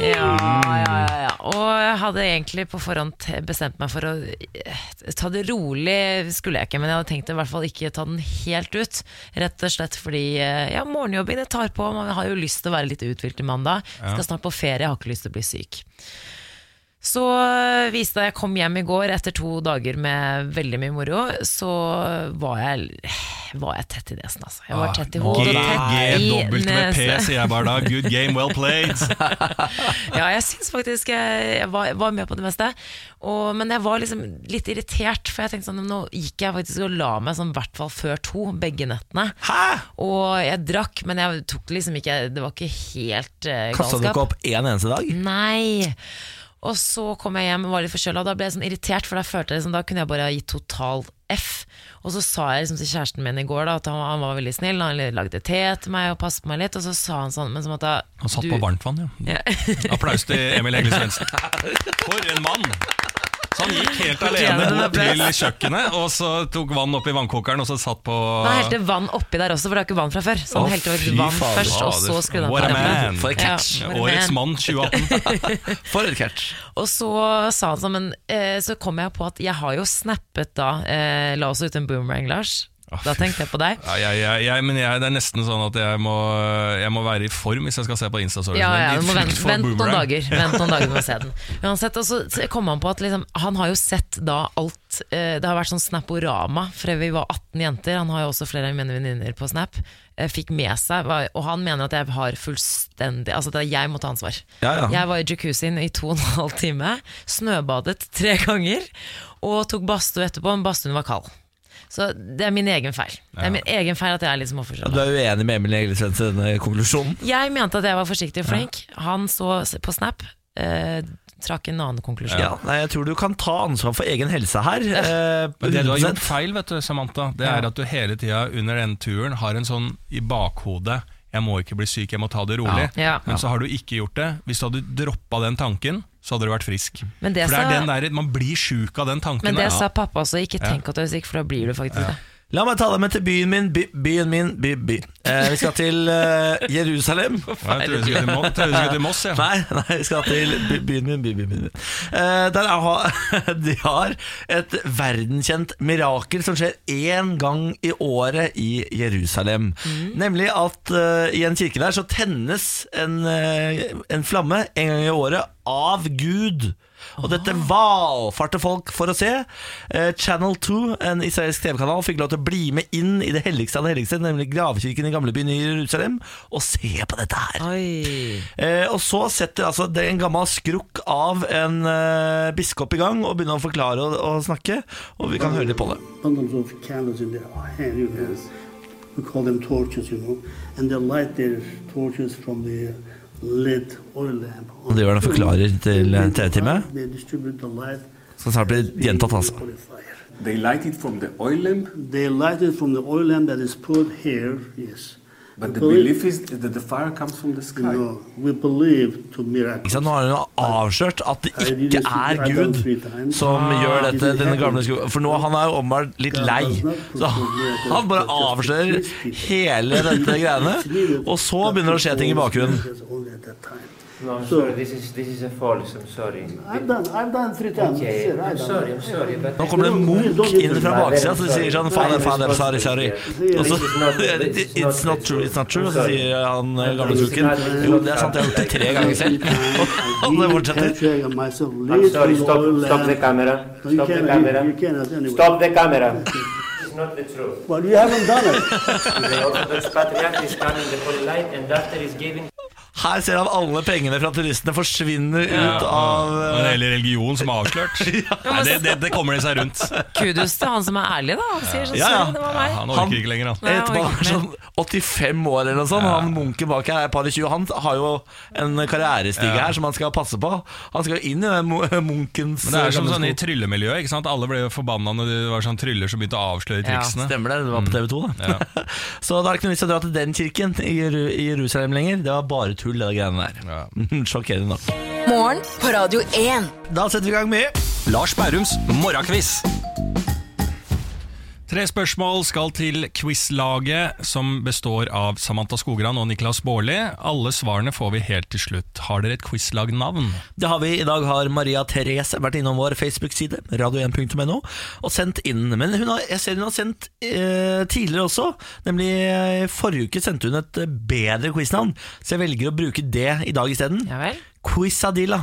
[SPEAKER 3] Ja, ja, ja, ja. Og jeg hadde egentlig på forhånd te- bestemt meg for å eh, ta det rolig, skulle jeg ikke, men jeg hadde tenkt å i hvert fall ikke ta den helt ut. Rett og slett fordi eh, ja, morgenjobbing det tar på, man har jo lyst til å være litt uthvilt til mandag. Skal snart på ferie, jeg har ikke lyst til å bli syk. Så eh, viste det jeg kom hjem i går etter to dager med veldig mye moro, så var jeg, var jeg tett i nesen, altså. Jeg var tett i hodet og tett i
[SPEAKER 2] GGWP,
[SPEAKER 3] nesen.
[SPEAKER 2] sier jeg bare da. Good game, well played.
[SPEAKER 3] Ja, jeg syns faktisk jeg, jeg var, var med på det meste. Og, men jeg var liksom litt irritert, for jeg tenkte sånn Nå gikk jeg faktisk og la meg sånn i hvert fall før to, begge nettene. Og jeg drakk, men jeg tok liksom ikke Det var ikke helt eh,
[SPEAKER 1] Kasta du
[SPEAKER 3] galskap.
[SPEAKER 1] ikke opp én eneste dag?
[SPEAKER 3] Nei Og så kom jeg hjem og var litt forkjøla Og da ble jeg sånn irritert For da følte jeg liksom, Da kunne jeg bare ha gitt total F Og så sa jeg liksom til kjæresten min i går da At han, han var veldig snill Han lagde te til meg Og passet meg litt Og så sa han sånn Men som at da
[SPEAKER 2] Han satt
[SPEAKER 3] du-
[SPEAKER 2] på varmtvann, ja.
[SPEAKER 3] ja.
[SPEAKER 2] Applaus til Emil Hegle Svendsen. For en mann! Så han gikk helt alene
[SPEAKER 3] Fortjener en
[SPEAKER 2] bort til kjøkkenet, og så tok vann oppi vannkokeren, og så satt på
[SPEAKER 3] Han helte vann oppi der også For det var ikke vann fra før Så han
[SPEAKER 1] Å,
[SPEAKER 3] helte over
[SPEAKER 1] fy
[SPEAKER 3] vann
[SPEAKER 1] fader.
[SPEAKER 3] først Og så skrudde han på
[SPEAKER 2] What a
[SPEAKER 3] varmen.
[SPEAKER 2] man.
[SPEAKER 1] For en catch.
[SPEAKER 3] Ja, what a
[SPEAKER 2] Årets
[SPEAKER 3] man.
[SPEAKER 2] mann 2018.
[SPEAKER 1] For et catch.
[SPEAKER 3] Og så sa han sånn, men eh, så kom jeg på at jeg har jo snappet da eh, La oss ut en boomerang, Lars. da tenkte jeg på deg.
[SPEAKER 2] Ja, jeg, jeg, jeg, men jeg, det er nesten sånn at jeg må, jeg må være i form hvis jeg skal se på Insta-storyen.
[SPEAKER 3] Ja,
[SPEAKER 2] din.
[SPEAKER 3] ja,
[SPEAKER 2] I
[SPEAKER 3] du må
[SPEAKER 2] frykt
[SPEAKER 3] vente,
[SPEAKER 2] for
[SPEAKER 3] vent noen
[SPEAKER 2] boomerang.
[SPEAKER 3] dager Vent noen dager med å se den Uansett, og så så kom han på at liksom, Han har jo sett da alt eh, Det har vært sånn Snaporama Fra vi var 18 jenter Han har jo også flere av mine venninner på Snap eh, Fikk med seg var, Og han mener at jeg har fullstendig Altså det er jeg må ta ansvar
[SPEAKER 1] Ja, ja.
[SPEAKER 3] Jeg var i jacuzzien i to og en halv time Snøbadet tre ganger Og tok badstue etterpå Men badstuen var kald så det er min egen feil Det er min egen feil at jeg er litt som offerskjønner
[SPEAKER 1] Du er uenig med Emil Egilsvenn til denne konklusjonen?
[SPEAKER 3] jeg mente at jeg var forsiktig og flink. Han så s- på Snap, eh, trakk en annen konklusjon.
[SPEAKER 1] Ja, nei, Jeg tror du kan ta ansvar for egen helse her. eh,
[SPEAKER 2] Men det du har
[SPEAKER 1] 100%.
[SPEAKER 2] gjort feil, vet du, Samantha, det er at du hele tida under den turen har en sånn i bakhodet Jeg må ikke bli syk, jeg må ta det rolig.
[SPEAKER 3] Ja. Ja.
[SPEAKER 2] Men så har du ikke gjort det. Hvis du hadde droppa den tanken, så hadde du vært frisk.
[SPEAKER 3] Men det
[SPEAKER 2] For det er
[SPEAKER 3] sa-
[SPEAKER 2] den der, Man blir sjuk av den tanken.
[SPEAKER 3] Men
[SPEAKER 2] der.
[SPEAKER 3] det sa pappa også, ikke tenk at du er syk, for da blir du faktisk det.
[SPEAKER 1] La meg ta deg med til byen min, by, byen min, by, by. Eh, vi skal til eh, Jerusalem.
[SPEAKER 2] Ja, jeg trodde du skulle til Mo- jeg trodde du skulle til Moss, ja.
[SPEAKER 1] Nei, nei, vi skal til by, byen min, by, by, byen min. Eh, der har, de har et verdenskjent mirakel som skjer én gang i året i Jerusalem. Nemlig at eh, i en kirke der så tennes en, eh, en flamme en gang i året av Gud. Og dette valfarter folk for å se. Eh, Channel 2, en israelsk TV-kanal, fikk lov til å bli med inn i det helligste av det helligste, nemlig gravkirken i gamlebyen i Jerusalem, og se på dette her.
[SPEAKER 3] Oi.
[SPEAKER 1] Eh, og så setter altså det en gammel skrukk av en eh, biskop i gang og begynner å forklare og, og snakke, og vi kan høre litt på det.
[SPEAKER 8] bundles of candles in their hand, you know. We call them torches, you know. And they light their torches from the lit oil lamp.
[SPEAKER 1] Og det var det han forklarer til TV-teamet.
[SPEAKER 8] They distribute the light.
[SPEAKER 1] Så snart blir det gjentatt, altså.
[SPEAKER 9] They light it from the oil lamp.
[SPEAKER 8] They light it from the oil lamp that is put here, yes.
[SPEAKER 9] But the
[SPEAKER 8] believe-
[SPEAKER 9] belief is that the fire comes from the sky.
[SPEAKER 8] No, we believe to
[SPEAKER 1] Ikke sant? Nå
[SPEAKER 8] miracles.
[SPEAKER 1] har hun avslørt at det ikke er Gud som gjør dette. denne gamle sko- For nå han er jo åpenbart litt lei. Så han bare avslører hele dette greiene. Og så begynner det å skje ting i bakgrunnen.
[SPEAKER 10] No, I'm
[SPEAKER 8] So-
[SPEAKER 10] sorry. This is this is a false. I'm sorry.
[SPEAKER 8] I've done, I've done three times.
[SPEAKER 10] Okay,
[SPEAKER 8] Sure, I've
[SPEAKER 10] I'm
[SPEAKER 8] done.
[SPEAKER 10] sorry. I'm sorry. But
[SPEAKER 1] Nå kommer det en munk inn fra baksida som sier sånn Fader, fader, sorry, sorry. Og så It's not true, it's not true. Og så sier han eh, gamle skurken Jo, det er sant, jeg har gjort det tre ganger selv. Og det fortsetter.
[SPEAKER 10] I'm sorry. Stop. Stop the camera.
[SPEAKER 8] No, you
[SPEAKER 10] Stop the
[SPEAKER 8] cannot, you- you
[SPEAKER 10] camera.
[SPEAKER 8] cannot anyway.
[SPEAKER 10] Stop the camera. It's not the truth.
[SPEAKER 8] Well, you haven't done it.
[SPEAKER 10] The Orthodox Patriarch is coming the holy light, and after is giving
[SPEAKER 1] Her ser han alle pengene fra turistene forsvinne ut av
[SPEAKER 2] Det
[SPEAKER 1] eh,
[SPEAKER 2] er hele religion som er avslørt. Nei, det, det, det kommer de seg rundt.
[SPEAKER 3] Kudos til han som er ærlig, da. Han sier sånn,
[SPEAKER 1] Ja, ja.
[SPEAKER 3] sorry, det var meg.
[SPEAKER 2] Han orker ikke lenger, han.
[SPEAKER 3] Nei, jeg
[SPEAKER 1] Etterpå
[SPEAKER 3] orker
[SPEAKER 1] han er
[SPEAKER 3] ikke
[SPEAKER 1] sånn 85 år eller noe sånt. og Han munken bak her er et par og 20. Han har jo en karrierestige her som han skal passe på. Han skal jo inn i den mu- munkens
[SPEAKER 2] Men det er som
[SPEAKER 1] gamle
[SPEAKER 2] sånn i
[SPEAKER 1] sko.
[SPEAKER 2] tryllemiljøet. ikke sant? Alle ble jo forbanna når det var sånn tryller som begynte å avsløre
[SPEAKER 3] Ja,
[SPEAKER 2] triksene.
[SPEAKER 1] Stemmer det, det
[SPEAKER 2] Mm.
[SPEAKER 1] var på TV 2, da. Så da er det ikke noe vits i å dra til den kirken i Jeru- i Jerusalem lenger. Det var bare tull, det greiene der.
[SPEAKER 2] Ja.
[SPEAKER 1] Sjokkerende nok.
[SPEAKER 4] Morgen på Radio 1.
[SPEAKER 1] Da setter vi i gang med
[SPEAKER 2] Lars Bærums morgenkviss. Tre spørsmål skal til quizlaget, som består av Samantha Skogran og Niklas Baarli. Alle svarene får vi helt til slutt. Har dere et quizlagnavn?
[SPEAKER 1] Det har vi. I dag har Maria Therese vært innom vår Facebook-side, radio1.no, og sendt inn. Men hun har, jeg ser hun har sendt eh, tidligere også, nemlig eh, forrige uke sendte hun et eh, bedre quiznavn, så jeg velger å bruke det i dag isteden.
[SPEAKER 3] Ja vel.
[SPEAKER 1] Quizadilla.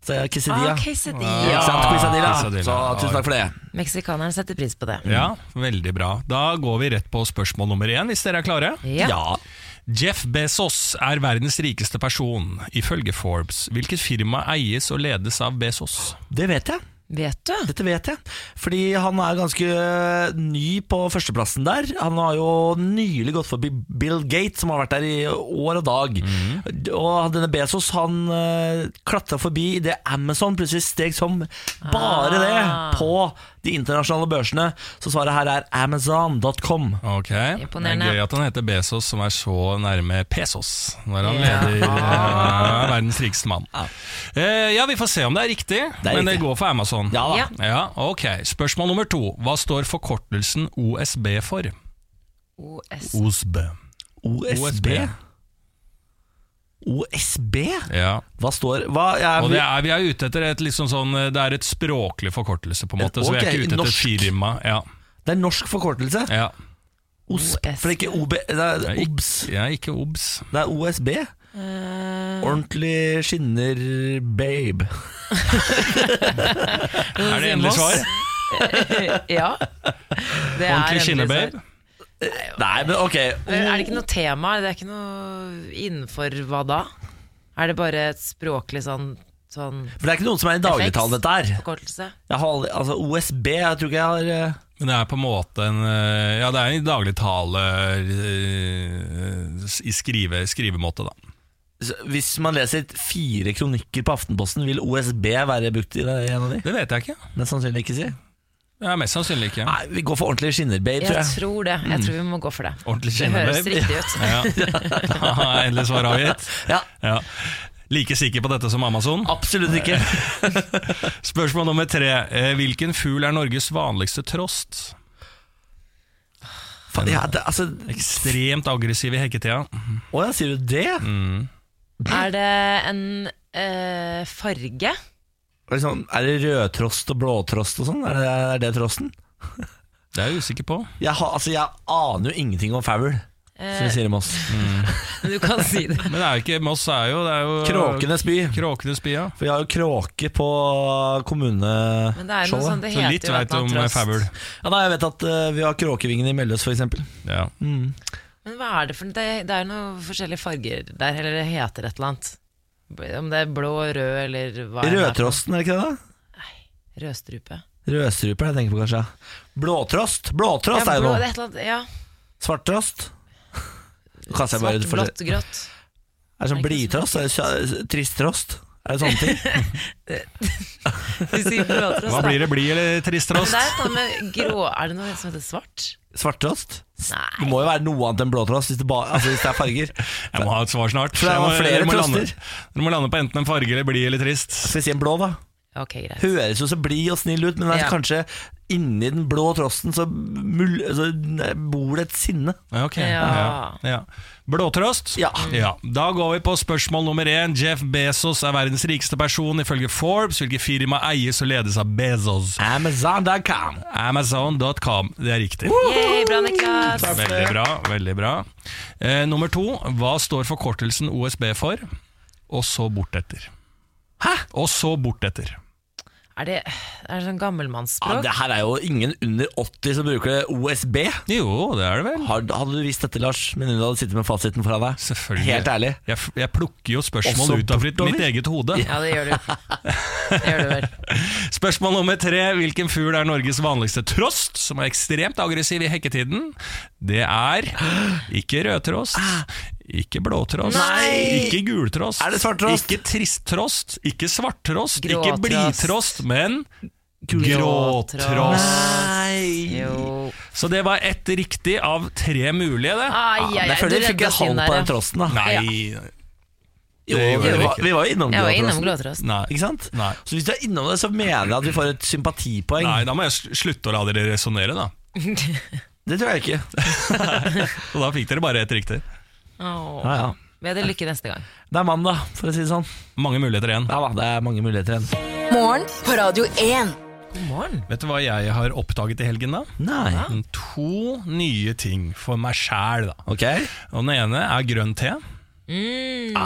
[SPEAKER 1] Så jeg quesadilla.
[SPEAKER 3] Ah, quesadilla.
[SPEAKER 1] Ikke sant? Quizadilla.
[SPEAKER 2] Quizadilla.
[SPEAKER 1] Så tusen takk for det.
[SPEAKER 3] Meksikaneren setter pris på det.
[SPEAKER 2] Ja, veldig bra. Da går vi rett på spørsmål nummer én, hvis dere er klare.
[SPEAKER 3] Ja.
[SPEAKER 2] Jeff Bezos er verdens rikeste person, ifølge Forbes. Hvilket firma eies og ledes av Bezos?
[SPEAKER 1] Det vet jeg.
[SPEAKER 3] Vet du?
[SPEAKER 1] Dette vet jeg. Fordi han er ganske øh, ny på førsteplassen der. Han har jo nylig gått forbi Bill Gates, som har vært der i år og dag. Og denne Bezos han klatra forbi idet Amazon plutselig steg som bare det på de internasjonale børsene. Så svaret her er amazon.com.
[SPEAKER 2] Ok,
[SPEAKER 3] Imponerende.
[SPEAKER 2] Det er gøy at han heter Bezos, som er så nærme Pesos når han leder ja, verdens rikeste mann. Eh, ja, vi får se om det er riktig,
[SPEAKER 1] er
[SPEAKER 2] men det
[SPEAKER 1] riktig.
[SPEAKER 2] går for Amazon.
[SPEAKER 1] Ja da.
[SPEAKER 3] Ja.
[SPEAKER 2] Ja, ok. Spørsmål nummer to. Hva står forkortelsen OSB for?
[SPEAKER 3] OS.
[SPEAKER 2] OSB.
[SPEAKER 1] OSB. OSB?
[SPEAKER 2] Ja,
[SPEAKER 1] Hva står Hva er
[SPEAKER 2] og det er, vi er ute etter et liksom sånn eh, Det er et språklig forkortelse, på en måte. Så vi
[SPEAKER 1] Ok,
[SPEAKER 2] er ikke ute etter
[SPEAKER 1] norsk.
[SPEAKER 2] firma. Ja,
[SPEAKER 1] Det er norsk forkortelse.
[SPEAKER 2] ja.
[SPEAKER 1] OSB.
[SPEAKER 3] OSB.
[SPEAKER 1] For det er ikke OB, det
[SPEAKER 2] Det
[SPEAKER 1] er
[SPEAKER 2] er
[SPEAKER 1] OBS.
[SPEAKER 2] ikke- Ja, ikke OBS.
[SPEAKER 1] Det er OSB. Eh. Ordentlig skinner babe.
[SPEAKER 2] Er det endelig svar?
[SPEAKER 3] ja. Det
[SPEAKER 2] Ordentlig
[SPEAKER 3] er endelig svar.
[SPEAKER 2] skinnebabe?
[SPEAKER 1] Nei, men ok.
[SPEAKER 3] Men Er det ikke noe tema? Det er ikke noe innenfor hva da? Er det bare et språklig sånn, sånn
[SPEAKER 1] For det er ikke noen som er i dagligtalen, dette her.
[SPEAKER 3] forkortelse?
[SPEAKER 1] Jeg har aldri, altså OSB, jeg tror ikke jeg har eh,
[SPEAKER 2] Men det er på en måte en eh, Ja, det er en dagligtale eh, i skrive, skrivemåte, da.
[SPEAKER 1] s- Hvis man leser fire kronikker på Aftenposten, vil OSB være brukt i det en av de?
[SPEAKER 2] Det vet jeg ikke.
[SPEAKER 1] Mest sannsynlig ikke si.
[SPEAKER 2] Det er mest sannsynlig ikke.
[SPEAKER 1] Nei, vi går for ordentlig skinner babe, tror
[SPEAKER 3] Jeg
[SPEAKER 1] jeg.
[SPEAKER 3] tror det. Jeg tror vi må gå for det.
[SPEAKER 2] Ordentlig
[SPEAKER 3] Det høres
[SPEAKER 2] skinnebabe.
[SPEAKER 3] riktig ut.
[SPEAKER 2] Ja. Da er Endelig svar avgitt.
[SPEAKER 1] Ja,
[SPEAKER 2] Ja. Like sikker på dette som Amazon.
[SPEAKER 1] absolutt ikke.
[SPEAKER 2] Spørsmål nummer tre. Eh, Hvilken fugl er Norges vanligste trost?
[SPEAKER 1] Faen, ja, det, altså,
[SPEAKER 2] Ekstremt aggressiv i hekketida.
[SPEAKER 1] å ja, sier du det?
[SPEAKER 2] Mm.
[SPEAKER 3] Er det en eh, farge?
[SPEAKER 1] Er det sånn- er det rødtrost og blåtrost og sånn? Er det, er det trosten?
[SPEAKER 2] Det er jeg usikker på.
[SPEAKER 1] Jeg, har, altså, jeg aner jo ingenting om faul, som vi
[SPEAKER 3] Eh,
[SPEAKER 1] sier i Moss.
[SPEAKER 3] du kan si det.
[SPEAKER 2] Men det er jo ikke Moss er jo, det er jo
[SPEAKER 1] Kråkenes by.
[SPEAKER 2] Kråkenes by, ja.
[SPEAKER 1] For vi har jo kråke på
[SPEAKER 3] Men det er noe
[SPEAKER 1] kommuneskjoldet.
[SPEAKER 3] sånn, det
[SPEAKER 2] Så
[SPEAKER 3] heter
[SPEAKER 2] litt
[SPEAKER 3] jo
[SPEAKER 2] veit
[SPEAKER 3] et
[SPEAKER 2] du om eh,
[SPEAKER 3] eller annet
[SPEAKER 2] fugl.
[SPEAKER 3] trost.
[SPEAKER 1] Ja, da, jeg vet at eh, vi har kråkevingen i Melløs, for eksempel.
[SPEAKER 2] Ja.
[SPEAKER 3] Men hva er det for Det, det er noen forskjellige farger der, eller det heter et eller annet. Om det er blå, rød eller hva enn det er for noe.
[SPEAKER 1] Rødtrosten, er det ikke det? da?
[SPEAKER 3] Rødstrupe.
[SPEAKER 1] Rødstrupe er det jeg tenker på, kanskje. ja. Blåtrost! Blåtrost
[SPEAKER 3] Ja,
[SPEAKER 1] er jo
[SPEAKER 3] blå, det
[SPEAKER 1] noe.
[SPEAKER 3] er et eller annet, ja.
[SPEAKER 1] Svarttrost. Nå kaster jeg bare
[SPEAKER 3] Svart,
[SPEAKER 1] ut for-
[SPEAKER 3] blått, grått.
[SPEAKER 1] Er det sånn blidtrost? Er det kja- Tristtrost? Er det sånne ting?
[SPEAKER 3] Hvis vi prater oss,
[SPEAKER 2] Hva
[SPEAKER 3] da.
[SPEAKER 2] blir det, blid eller trist
[SPEAKER 3] Men
[SPEAKER 2] rost?
[SPEAKER 3] det er sånn med grå Er det noe som heter svart?
[SPEAKER 1] Svarttrost? Det må jo være noe annet enn blåtrost hvis det, ba, altså hvis det er farger.
[SPEAKER 2] Jeg må ha et svar snart.
[SPEAKER 1] For det
[SPEAKER 2] Jeg
[SPEAKER 1] var flere
[SPEAKER 2] dere må lande-
[SPEAKER 1] troster.
[SPEAKER 2] Dere må lande på enten en farge eller blid eller trist.
[SPEAKER 1] Skal vi si en blå, da?
[SPEAKER 3] Ok, greit.
[SPEAKER 1] Høres jo så blid og snill ut, men det er
[SPEAKER 3] Ja.
[SPEAKER 1] kanskje inni den blå trosten så, mul så bor det et sinne.
[SPEAKER 2] Ja, Ok.
[SPEAKER 3] Ja.
[SPEAKER 2] Ja. Ja. Blåtrost?
[SPEAKER 1] Ja.
[SPEAKER 2] Da går vi på spørsmål nummer én. Jeff Bezos er verdens rikeste person ifølge Forbes. Hvilket firma eies og ledes av Bezos?
[SPEAKER 1] Amazon.com.
[SPEAKER 2] Amazon.com. Det er riktig.
[SPEAKER 3] Yay, bra, Niklas.
[SPEAKER 2] Veldig bra. veldig bra eh, Nummer to. Hva står forkortelsen OSB for? Og så bortetter. Hæ? Og så bortetter.
[SPEAKER 3] Er det, er det sånn
[SPEAKER 1] Ja,
[SPEAKER 3] gammelmannsspråk?
[SPEAKER 1] det her er jo ingen under 80 som bruker det OSB.
[SPEAKER 2] Jo, det er det vel.
[SPEAKER 1] Har, hadde du visst dette, Lars, men du hadde sittet med fasiten foran deg?
[SPEAKER 2] Selvfølgelig.
[SPEAKER 1] Helt ærlig.
[SPEAKER 2] Jeg, f- jeg plukker jo
[SPEAKER 1] Og så
[SPEAKER 2] spørsmål ut av mitt,
[SPEAKER 1] bortover.
[SPEAKER 2] mitt eget hode.
[SPEAKER 3] Ja, det gjør du. Det gjør du vel.
[SPEAKER 2] Spørsmål nummer tre. Hvilken fugl er Norges vanligste trost, som er ekstremt aggressiv i hekketiden? Det er ikke rødtrost, ikke blåtrost,
[SPEAKER 1] Nei!
[SPEAKER 2] ikke gultrost,
[SPEAKER 1] Er det svarttrost?
[SPEAKER 2] ikke tristtrost, ikke svarttrost, ikke
[SPEAKER 3] Gråtrost.
[SPEAKER 2] blidtrost, men
[SPEAKER 3] Gråtrost.
[SPEAKER 2] gråtrost.
[SPEAKER 1] Nei!
[SPEAKER 3] Jo.
[SPEAKER 2] Så det var ett riktig av tre mulige, det.
[SPEAKER 3] Ai, ai, ai,
[SPEAKER 1] Jeg føler
[SPEAKER 3] du
[SPEAKER 1] vi fikk en
[SPEAKER 3] redda oss
[SPEAKER 1] halv
[SPEAKER 3] inn
[SPEAKER 1] på
[SPEAKER 3] der,
[SPEAKER 1] den trosten. da
[SPEAKER 2] Nei,
[SPEAKER 1] Jo,
[SPEAKER 2] det gjorde
[SPEAKER 1] vi,
[SPEAKER 2] vi
[SPEAKER 1] var,
[SPEAKER 2] ikke.
[SPEAKER 1] vi var jo innom
[SPEAKER 3] Jeg var innom
[SPEAKER 1] gråtrosten.
[SPEAKER 3] Glåtrost.
[SPEAKER 2] nei.
[SPEAKER 1] Ikke sant?
[SPEAKER 2] Nei.
[SPEAKER 1] Så hvis du er innom det, så mener jeg at vi får et sympatipoeng.
[SPEAKER 2] Nei, da må jeg sl- slutte å la dere resonnere, da.
[SPEAKER 1] Det tror jeg ikke.
[SPEAKER 2] Og da fikk dere bare ett riktig.
[SPEAKER 3] Åh.
[SPEAKER 1] Ja, ja.
[SPEAKER 3] Vi hadde lykke neste gang.
[SPEAKER 1] Det er mandag, for å si det sånn.
[SPEAKER 2] Mange muligheter igjen.
[SPEAKER 1] Ja da, det er mange muligheter igjen.
[SPEAKER 4] Morgen på Radio 1.
[SPEAKER 3] God morgen.
[SPEAKER 2] Vet du hva jeg har oppdaget i helgen, da?
[SPEAKER 1] Nei.
[SPEAKER 2] Mm, To nye ting for meg sjæl, da.
[SPEAKER 1] Ok.
[SPEAKER 2] Og den ene er grønn te.
[SPEAKER 3] Mm,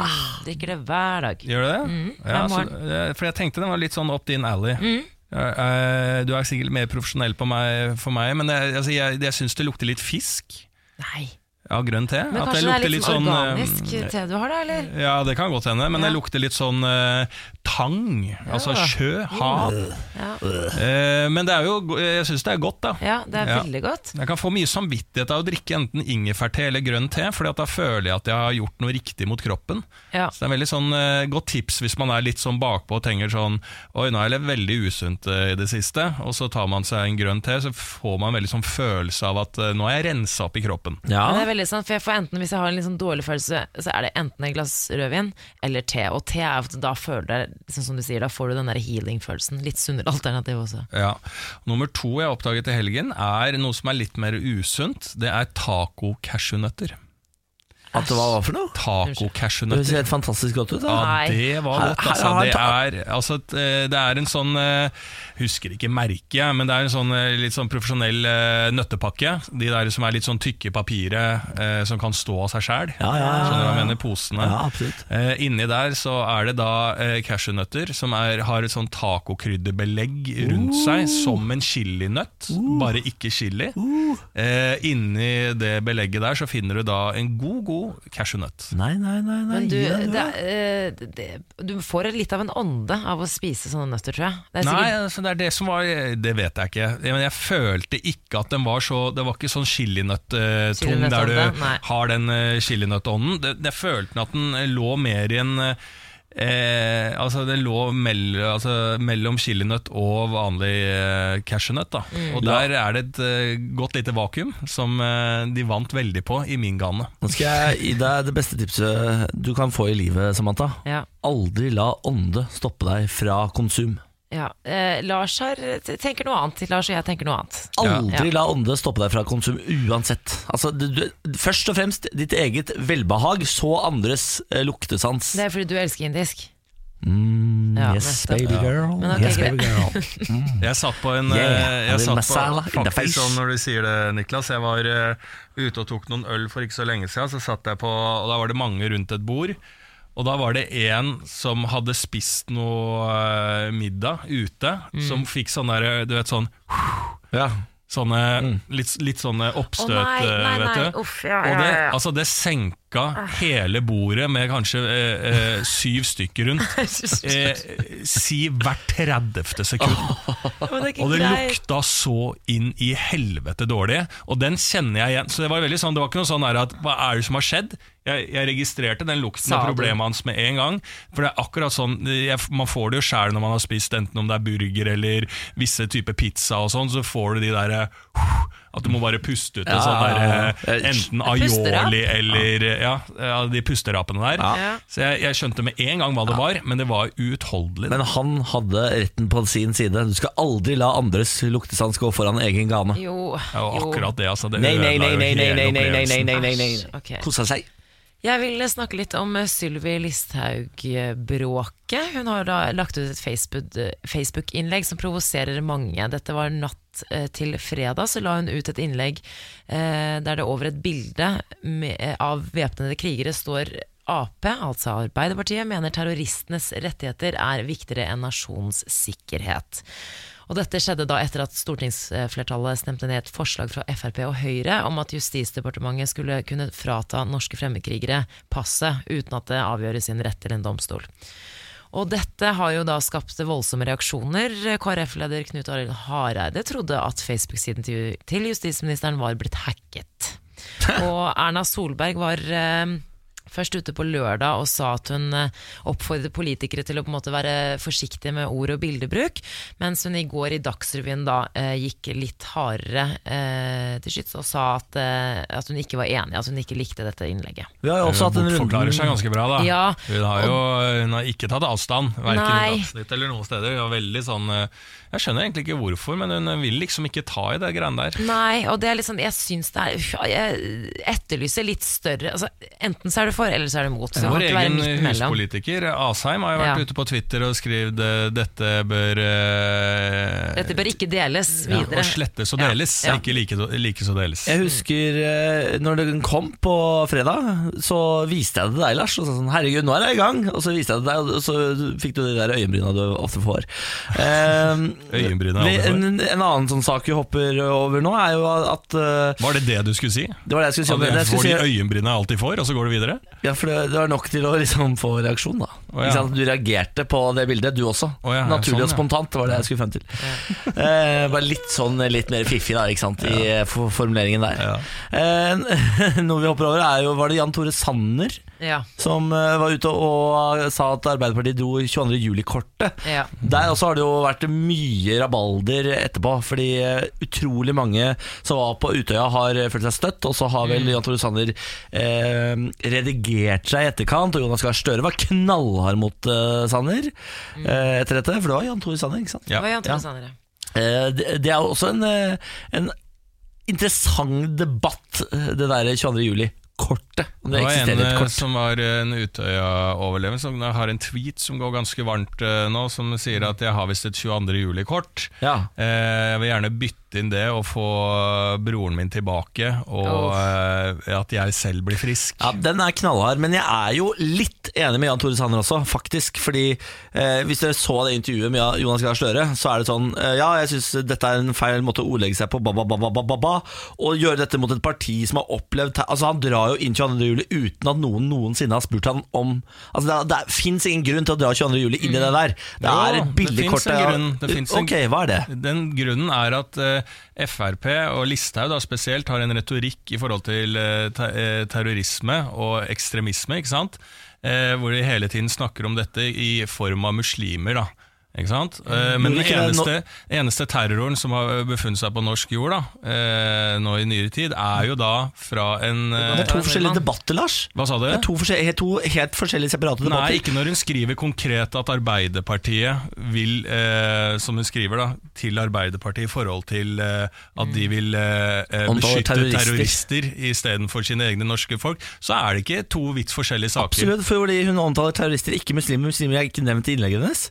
[SPEAKER 3] Drikker det hver dag.
[SPEAKER 2] Gjør du det? ja,
[SPEAKER 3] hver
[SPEAKER 2] så,
[SPEAKER 3] Mm, morgen. Mm.
[SPEAKER 2] eh, for jeg tenkte den var litt sånn up din alley. Eh, eh, Du er sikkert mer profesjonell på meg, for meg, men jeg, altså, jeg, jeg syns det lukter litt fisk
[SPEAKER 3] Nei.
[SPEAKER 2] av grønn te.
[SPEAKER 3] Men
[SPEAKER 2] At
[SPEAKER 3] kanskje det er
[SPEAKER 2] lukter
[SPEAKER 3] litt sånn organisk te du har da, eller?
[SPEAKER 2] eh, Ja, det kan godt hende, men det lukter litt sånn eh, tang. Altså
[SPEAKER 3] Ja.
[SPEAKER 2] sjø, hav.
[SPEAKER 3] Ja,
[SPEAKER 2] Eh, men det er jo, jeg syns det er godt, da.
[SPEAKER 3] ja det er
[SPEAKER 2] Ja.
[SPEAKER 3] veldig godt.
[SPEAKER 2] Jeg kan få mye samvittighet av å drikke enten ingefærte eller grønn te, Fordi at da føler jeg at jeg har gjort noe riktig mot kroppen.
[SPEAKER 3] Ja.
[SPEAKER 2] Så det er veldig sånn eh, godt tips hvis man er litt sånn bakpå og tenker sånn Oi, nå har jeg levd veldig usunt eh, i det siste, og så tar man seg en grønn te, så får man veldig sånn følelse av at eh, nå har jeg rensa opp i kroppen.
[SPEAKER 1] Ja.
[SPEAKER 3] Men det er veldig sånn, for jeg får enten Hvis jeg har en litt sånn dårlig følelse, så er det enten et glass rødvin eller te. Og te er ofte da føler du liksom som du sier, da får du den der healing-følelsen. Litt sunnere alternativ også.
[SPEAKER 2] Ja. Nummer to jeg oppdaget i helgen, er noe som er litt mer usunt. Det er taco-cashewnøtter.
[SPEAKER 1] At det var hva for noe? Det
[SPEAKER 2] Taco-cashewnøtter.
[SPEAKER 1] ser helt fantastisk godt ut. da.
[SPEAKER 2] Ja,
[SPEAKER 3] Nei.
[SPEAKER 2] det var
[SPEAKER 1] Her-
[SPEAKER 2] godt.
[SPEAKER 1] her
[SPEAKER 2] Altså.
[SPEAKER 1] sånn? har han
[SPEAKER 2] Det, er, altså, et, eh, det er en sånn eh, Husker ikke merket, jeg, men det er en sånn eh, litt sånn profesjonell eh, nøttepakke. De der som er litt sånn tykke i papiret, eh, som kan stå av seg sjæl.
[SPEAKER 1] Ja, ja, ja.
[SPEAKER 2] Skjønner du hva jeg mener? Posene.
[SPEAKER 1] Ja, absolutt.
[SPEAKER 2] Eh, inni der så er det da eh, cashewnøtter som er, har et sånn tacokrydderbelegg rundt
[SPEAKER 1] Uh.
[SPEAKER 2] seg, som en chilinøtt, bare ikke chili.
[SPEAKER 1] Uh.
[SPEAKER 2] Eh, inni det belegget der så finner du da en god, god cashewnøtt.
[SPEAKER 1] Nei, nei, nei. nei.
[SPEAKER 3] Men du,
[SPEAKER 1] gi deg,
[SPEAKER 3] det,
[SPEAKER 1] da.
[SPEAKER 3] er, eh, det, du får litt av en ånde av å spise sånne nøtter, tror jeg. Det er
[SPEAKER 2] Nei,
[SPEAKER 3] sikkert,
[SPEAKER 2] altså, det er det som var Det vet jeg ikke. Men jeg følte ikke at den var så Det var ikke sånn chilinøtt-tung der du
[SPEAKER 3] Chilinøttånde, nei.
[SPEAKER 2] har den eh, chilinøttånden. Det- Jeg følte at den eh, lå mer i en eh, Eh, altså Det lå mell, altså mellom chilinøtt og vanlig eh, cashewnøtt. da.
[SPEAKER 3] Mm.
[SPEAKER 2] Og der er det et eh, godt lite vakuum som eh, de vant veldig på i min gane.
[SPEAKER 1] Nå skal jeg gi deg det beste tipset du kan få i livet, Samantha.
[SPEAKER 3] ja,
[SPEAKER 1] Aldri la ånde stoppe deg fra konsum.
[SPEAKER 3] ja. Eh, Lars har, tenker noe annet. Lars og jeg tenker noe annet.
[SPEAKER 1] Aldri
[SPEAKER 3] Ja.
[SPEAKER 1] la ånde stoppe deg fra konsum uansett. Altså, du, du, først og fremst ditt eget velbehag, så andres eh, luktesans.
[SPEAKER 3] Det er fordi du elsker indisk.
[SPEAKER 1] Mm,
[SPEAKER 3] Ja,
[SPEAKER 1] yes,
[SPEAKER 3] nettopp.
[SPEAKER 1] baby girl.
[SPEAKER 3] Men ok,
[SPEAKER 1] yes,
[SPEAKER 3] greit.
[SPEAKER 1] baby girl.
[SPEAKER 2] Jeg satt på en
[SPEAKER 1] Yeah,
[SPEAKER 2] eh,
[SPEAKER 1] I
[SPEAKER 2] jeg
[SPEAKER 1] will
[SPEAKER 2] satt
[SPEAKER 1] masala
[SPEAKER 2] på,
[SPEAKER 1] in the
[SPEAKER 2] Faktisk
[SPEAKER 1] face.
[SPEAKER 2] sånn når du sier det, Niklas Jeg var eh, ute og tok noen øl for ikke så lenge siden Så satt jeg på, og da var det mange rundt et bord Og da var det en som hadde spist noe eh, middag ute Som fikk sånn der, du vet sånn
[SPEAKER 1] Mm. Ja. Mm.
[SPEAKER 2] Sånne, litt, litt sånne oppstøt,
[SPEAKER 3] Å, nei, nei,
[SPEAKER 2] eh, vet
[SPEAKER 3] nei,
[SPEAKER 2] du
[SPEAKER 3] uff, ja, ja,
[SPEAKER 2] Og det,
[SPEAKER 3] ja, Ah. ja.
[SPEAKER 2] altså, det senket dekka hele bordet med kanskje eh, eh, syv stykker rundt. Eh, si hvert 30. sekund.
[SPEAKER 3] Men det er ikke
[SPEAKER 2] Og det
[SPEAKER 3] greit.
[SPEAKER 2] lukta så inn i helvete dårlig, og den kjenner jeg igjen. Så det var veldig sånn, det var ikke noe sånn her at hva er det som har skjedd? Jeg, jeg registrerte den lukten
[SPEAKER 11] Sa
[SPEAKER 2] av
[SPEAKER 11] du?
[SPEAKER 2] problemet hans med en gang. For det er akkurat sånn, jeg, Man får det jo sjæl når man har spist enten om det er burger eller visse typer pizza, og sånn, så får du de der eh, At du må bare puste ut en
[SPEAKER 1] Ja,
[SPEAKER 2] sånn
[SPEAKER 1] ja, ja.
[SPEAKER 2] der, eh, enten
[SPEAKER 1] Pusterap?
[SPEAKER 2] aioli eller ja, ja, de pusterapene der.
[SPEAKER 1] Ja.
[SPEAKER 2] Så jeg, jeg skjønte med en gang hva det var, men det var uutholdelig.
[SPEAKER 1] Men han hadde retten på sin side. Du skal aldri la andres luktesans gå foran egen gane.
[SPEAKER 3] Jo,
[SPEAKER 2] Ja, og
[SPEAKER 3] jo.
[SPEAKER 2] akkurat det, altså. Det
[SPEAKER 1] Nei, nei, nei,
[SPEAKER 2] ødela jo
[SPEAKER 1] nei, nei, nei, nei,
[SPEAKER 2] hele
[SPEAKER 1] nei,
[SPEAKER 2] opplevelsen.
[SPEAKER 1] nei, nei, nei.
[SPEAKER 3] Æsj, ok.
[SPEAKER 1] Kosa seg.
[SPEAKER 3] Jeg vil snakke litt om eh, Sylvi Listhaug-bråket. Hun har da lagt ut et Facebook- eh, Facebook-innlegg som provoserer mange. Dette var natt eh, til fredag, så la hun ut et innlegg eh, der det over et bilde med, eh, av væpnede krigere står Ap, altså Arbeiderpartiet, mener terroristenes rettigheter er viktigere enn nasjonens sikkerhet. Og dette skjedde da etter at stortingsflertallet stemte ned et forslag fra Frp og Høyre om at Justisdepartementet skulle kunne frata norske fremmedkrigere passet uten at det avgjøres i en rett til en domstol. Og dette har jo da skapt voldsomme reaksjoner. KrF-leder Knut Arild Hareide trodde at Facebook-siden til til justisministeren var blitt hacket. Og Erna Solberg var eh, først ute på lørdag og sa at hun eh, oppfordret politikere til å på en måte være forsiktige med ord og bildebruk, mens hun i går i Dagsrevyen da eh, gikk litt hardere eh, til skyts og sa at, eh, at hun ikke var enig, at hun ikke likte dette innlegget.
[SPEAKER 1] Vi har jo også hatt en
[SPEAKER 2] Hun forklarer Eh, seg
[SPEAKER 1] runde
[SPEAKER 2] ganske bra, da.
[SPEAKER 3] Ja,
[SPEAKER 2] hun, har jo, hun har ikke tatt avstand, verken
[SPEAKER 3] Nei.
[SPEAKER 2] i Dagsnytt eller noen steder. Hun var veldig sånn, eh, jeg skjønner egentlig ikke hvorfor, men hun vil liksom ikke ta i det greiene der.
[SPEAKER 3] Nei, og det er litt sånn, jeg syns det er uff, Jeg etterlyser litt større altså, Enten så er du for, eller så er du mot. Så det kan
[SPEAKER 2] Vår
[SPEAKER 3] ikke være
[SPEAKER 2] egen
[SPEAKER 3] midt mellom.
[SPEAKER 2] huspolitiker Asheim har jo vært
[SPEAKER 3] Ja.
[SPEAKER 2] ute på Twitter og skrevet eh, 'dette bør eh,
[SPEAKER 3] Dette bør ikke deles
[SPEAKER 2] ja,
[SPEAKER 3] videre.
[SPEAKER 2] og slettes og deles,
[SPEAKER 3] Ja.
[SPEAKER 2] ikke like, like så deles.
[SPEAKER 1] Jeg husker eh, når den kom på fredag, så viste jeg det til deg, Lars. Og så sånn, herregud, nå er jeg i gang! Og så viste jeg det til deg, og så fikk du de der øyenbryna du ofte får. Eh,
[SPEAKER 2] Øyenbryna
[SPEAKER 1] vi-
[SPEAKER 2] jeg aldri får.
[SPEAKER 1] en, en annen sånn sak vi hopper over nå, er jo at eh,
[SPEAKER 2] Var det det du skulle si?
[SPEAKER 1] Det var det jeg skulle si om
[SPEAKER 2] At
[SPEAKER 1] det.
[SPEAKER 2] jeg
[SPEAKER 1] Jeg skulle
[SPEAKER 2] får de
[SPEAKER 1] si-
[SPEAKER 2] øyenbrynene jeg alltid får, og så går det videre?
[SPEAKER 1] Ja, for det, det var nok til å liksom få reaksjon, da.
[SPEAKER 2] ja.
[SPEAKER 1] Ikke sant? Du reagerte på det bildet, du også.
[SPEAKER 2] Å ja, ja,
[SPEAKER 1] Naturlig
[SPEAKER 2] sånn,
[SPEAKER 1] og
[SPEAKER 2] ja.
[SPEAKER 1] spontant, det var det jeg skulle frem til. eh, bare litt sånn litt mer fiffig, da, ikke sant, i eh, for formuleringen der. Eh, noe vi hopper over, er jo Var det Jan Tore Sanner
[SPEAKER 3] Ja.
[SPEAKER 1] som eh, var ute og eh, sa at Arbeiderpartiet dro 22. juli-kortet?
[SPEAKER 3] Ja.
[SPEAKER 1] Der også har det jo vært mye rabalder etterpå, fordi eh, utrolig mange som var på Utøya har eh, følt seg støtt, og så har vel Jan Tore Sanner eh, redigert seg i etterkant, og Jonas Gahr Støre var knallhard mot eh, Sanner eh, etter dette, for det var Jan Tore Sanner, ikke sant?
[SPEAKER 3] Det var Jan Tore
[SPEAKER 1] Ja.
[SPEAKER 3] Sanner, ja.
[SPEAKER 1] Eh, det, det er jo også en, eh, en interessant debatt, eh, det der 22. juli-kortet, om det
[SPEAKER 2] var en
[SPEAKER 1] eksisterer et
[SPEAKER 2] eh,
[SPEAKER 1] kort.
[SPEAKER 2] som var eh, en Utøya-overlever som har en tweet som går ganske varmt eh, nå, som sier at jeg har visst et 22. juli-kort.
[SPEAKER 1] Ja.
[SPEAKER 2] Eh, jeg vil gjerne bytte inn det og få eh, broren min tilbake, og eh, at jeg selv blir frisk.
[SPEAKER 1] Ja, Den er knallhard, men jeg er jo litt enig med Jan Tore Sanner også, faktisk. Fordi eh, hvis dere så det intervjuet med Ja- Jonas Gahr Støre, så er det sånn eh, Ja, jeg syns dette er en feil måte å ordlegge seg på, ba, ba, ba, ba, ba, ba, ba, og gjøre dette mot et parti som har opplevd te- Altså, han drar jo inn 22. juli uten at noen noensinne har spurt han om Altså, det, er- det fins ingen grunn til å dra 22. juli inn i det der. Det
[SPEAKER 2] Jo,
[SPEAKER 1] er et billigkort.
[SPEAKER 2] Det finnes en
[SPEAKER 1] ja.
[SPEAKER 2] grunn. Det finnes en-
[SPEAKER 1] ok, hva er det?
[SPEAKER 2] Den grunnen er at eh, Frp og Listhaug da spesielt har en retorikk i forhold til eh, te eh, terrorisme og ekstremisme, ikke sant? Eh, hvor de hele tiden snakker om dette i form av muslimer, da. Ikke sant? Eh,
[SPEAKER 1] Gjorde
[SPEAKER 2] men den
[SPEAKER 1] Mm. ikke det
[SPEAKER 2] eneste, eneste terroren som har befunnet seg på norsk jord da, eh, nå i nyere tid, er jo da fra en eh,
[SPEAKER 1] Det er to forskjellige debatter, Lars.
[SPEAKER 2] Hva sa du?
[SPEAKER 1] Det er to, forskjellige, to helt forskjellige separate debatter.
[SPEAKER 2] Nei, ikke når hun skriver konkret at Arbeiderpartiet vil, eh, som hun skriver da, til Arbeiderpartiet i forhold til eh, at de vil eh, eh,
[SPEAKER 1] Antall
[SPEAKER 2] beskytte
[SPEAKER 1] Mm. terrorister.
[SPEAKER 2] terrorister istedenfor sine egne norske folk, så er det ikke to vidt forskjellige saker.
[SPEAKER 1] Absolutt, fordi hun omtaler terrorister, ikke muslimer. Muslimer er ikke nevnt i innlegget hennes.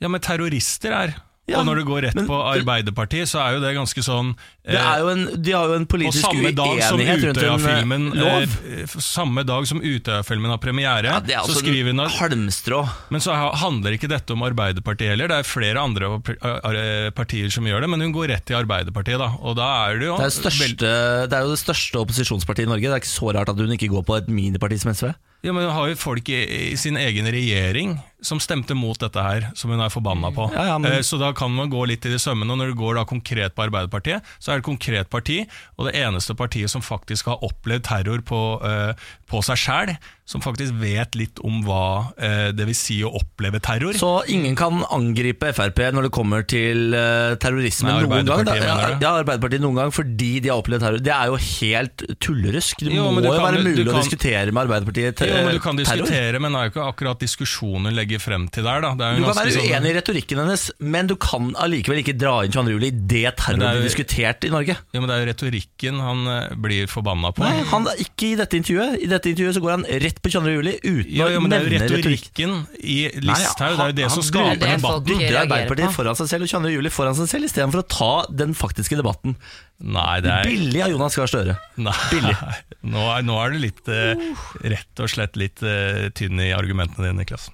[SPEAKER 2] Ja, men terrorister er og når det går rett på Arbeiderpartiet, så er jo det ganske sånn eh,
[SPEAKER 1] Det er jo en, de har jo en politisk
[SPEAKER 2] på samme dag som
[SPEAKER 1] uenighet rundt en
[SPEAKER 2] Utøya-filmen
[SPEAKER 1] eh, lov.
[SPEAKER 2] eh, f- Samme dag som Utøya-filmen har premiere,
[SPEAKER 1] det er
[SPEAKER 2] så
[SPEAKER 1] altså
[SPEAKER 2] skriver hun
[SPEAKER 1] en halmstrå.
[SPEAKER 2] Men så ha- handler ikke dette om Arbeiderpartiet heller. Det er flere andre av par- ar- partier som gjør det, men hun går rett til Arbeiderpartiet, da. Og da er det jo
[SPEAKER 1] Det er, jo største, det er jo det største opposisjonspartiet i Norge. Det er ikke så rart at hun ikke går på et miniparti som SV.
[SPEAKER 2] Ja, men Hun har jo folk i, i sin egen regjering som stemte mot dette her, som hun er forbanna på.
[SPEAKER 1] Ja, ja, men-
[SPEAKER 2] Eh, Så da kan man gå litt i det sømmene. Og når du går da konkret på Arbeiderpartiet, så er det et konkret parti, og det eneste partiet som faktisk har opplevd terror på, eh, på seg sjæl, som faktisk vet litt om hva eh, det vil si å oppleve terror.
[SPEAKER 1] Så ingen kan angripe Frp når det kommer til eh, terrorisme
[SPEAKER 2] Nei,
[SPEAKER 1] noen gang? da.
[SPEAKER 2] Arbeiderpartiet,
[SPEAKER 1] Ja,
[SPEAKER 2] mener du?
[SPEAKER 1] ja, Arbeiderpartiet noen gang fordi de har opplevd terror. Det er jo helt tullerusk. Det
[SPEAKER 2] Jo, men
[SPEAKER 1] må
[SPEAKER 2] du
[SPEAKER 1] jo
[SPEAKER 2] kan-
[SPEAKER 1] være
[SPEAKER 2] du
[SPEAKER 1] mulig å
[SPEAKER 2] kan-
[SPEAKER 1] diskutere med Arbeiderpartiet te-
[SPEAKER 2] Jo, men Du kan
[SPEAKER 1] Eh, terror.
[SPEAKER 2] diskutere, men det er jo ikke akkurat diskusjonen legger frem til der. da. Det er
[SPEAKER 1] Du
[SPEAKER 2] jo
[SPEAKER 1] kan
[SPEAKER 2] ganske
[SPEAKER 1] være
[SPEAKER 2] sånn-
[SPEAKER 1] uenig i retorikken hennes, men du kan allikevel ikke dra inn 22. juli i det terror
[SPEAKER 2] Men det er
[SPEAKER 1] blir
[SPEAKER 2] jo-
[SPEAKER 1] diskutert i Norge.
[SPEAKER 2] Ja, men Det er jo retorikken han eh, blir forbanna på.
[SPEAKER 1] Nei, han er ikke i dette intervjuet. I dette intervjuet så går han rett på 22. juli uten
[SPEAKER 2] Ja, ja,
[SPEAKER 1] å
[SPEAKER 2] men det er jo
[SPEAKER 1] nevne retorikk.
[SPEAKER 2] retorikken i Listhaug, det er jo det som skaper
[SPEAKER 1] debatten.
[SPEAKER 2] debatten.
[SPEAKER 1] Det er Arbeiderpartiet foran seg selv og 22. juli foran seg selv, istedenfor å ta den faktiske debatten.
[SPEAKER 2] Nei, det er
[SPEAKER 1] Billig av Jonas Gahr Støre.
[SPEAKER 2] Nei, Nå, er, nå er du litt eh,
[SPEAKER 1] Uh.
[SPEAKER 2] rett og slett litt eh, tynn i argumentene dine, Niklas.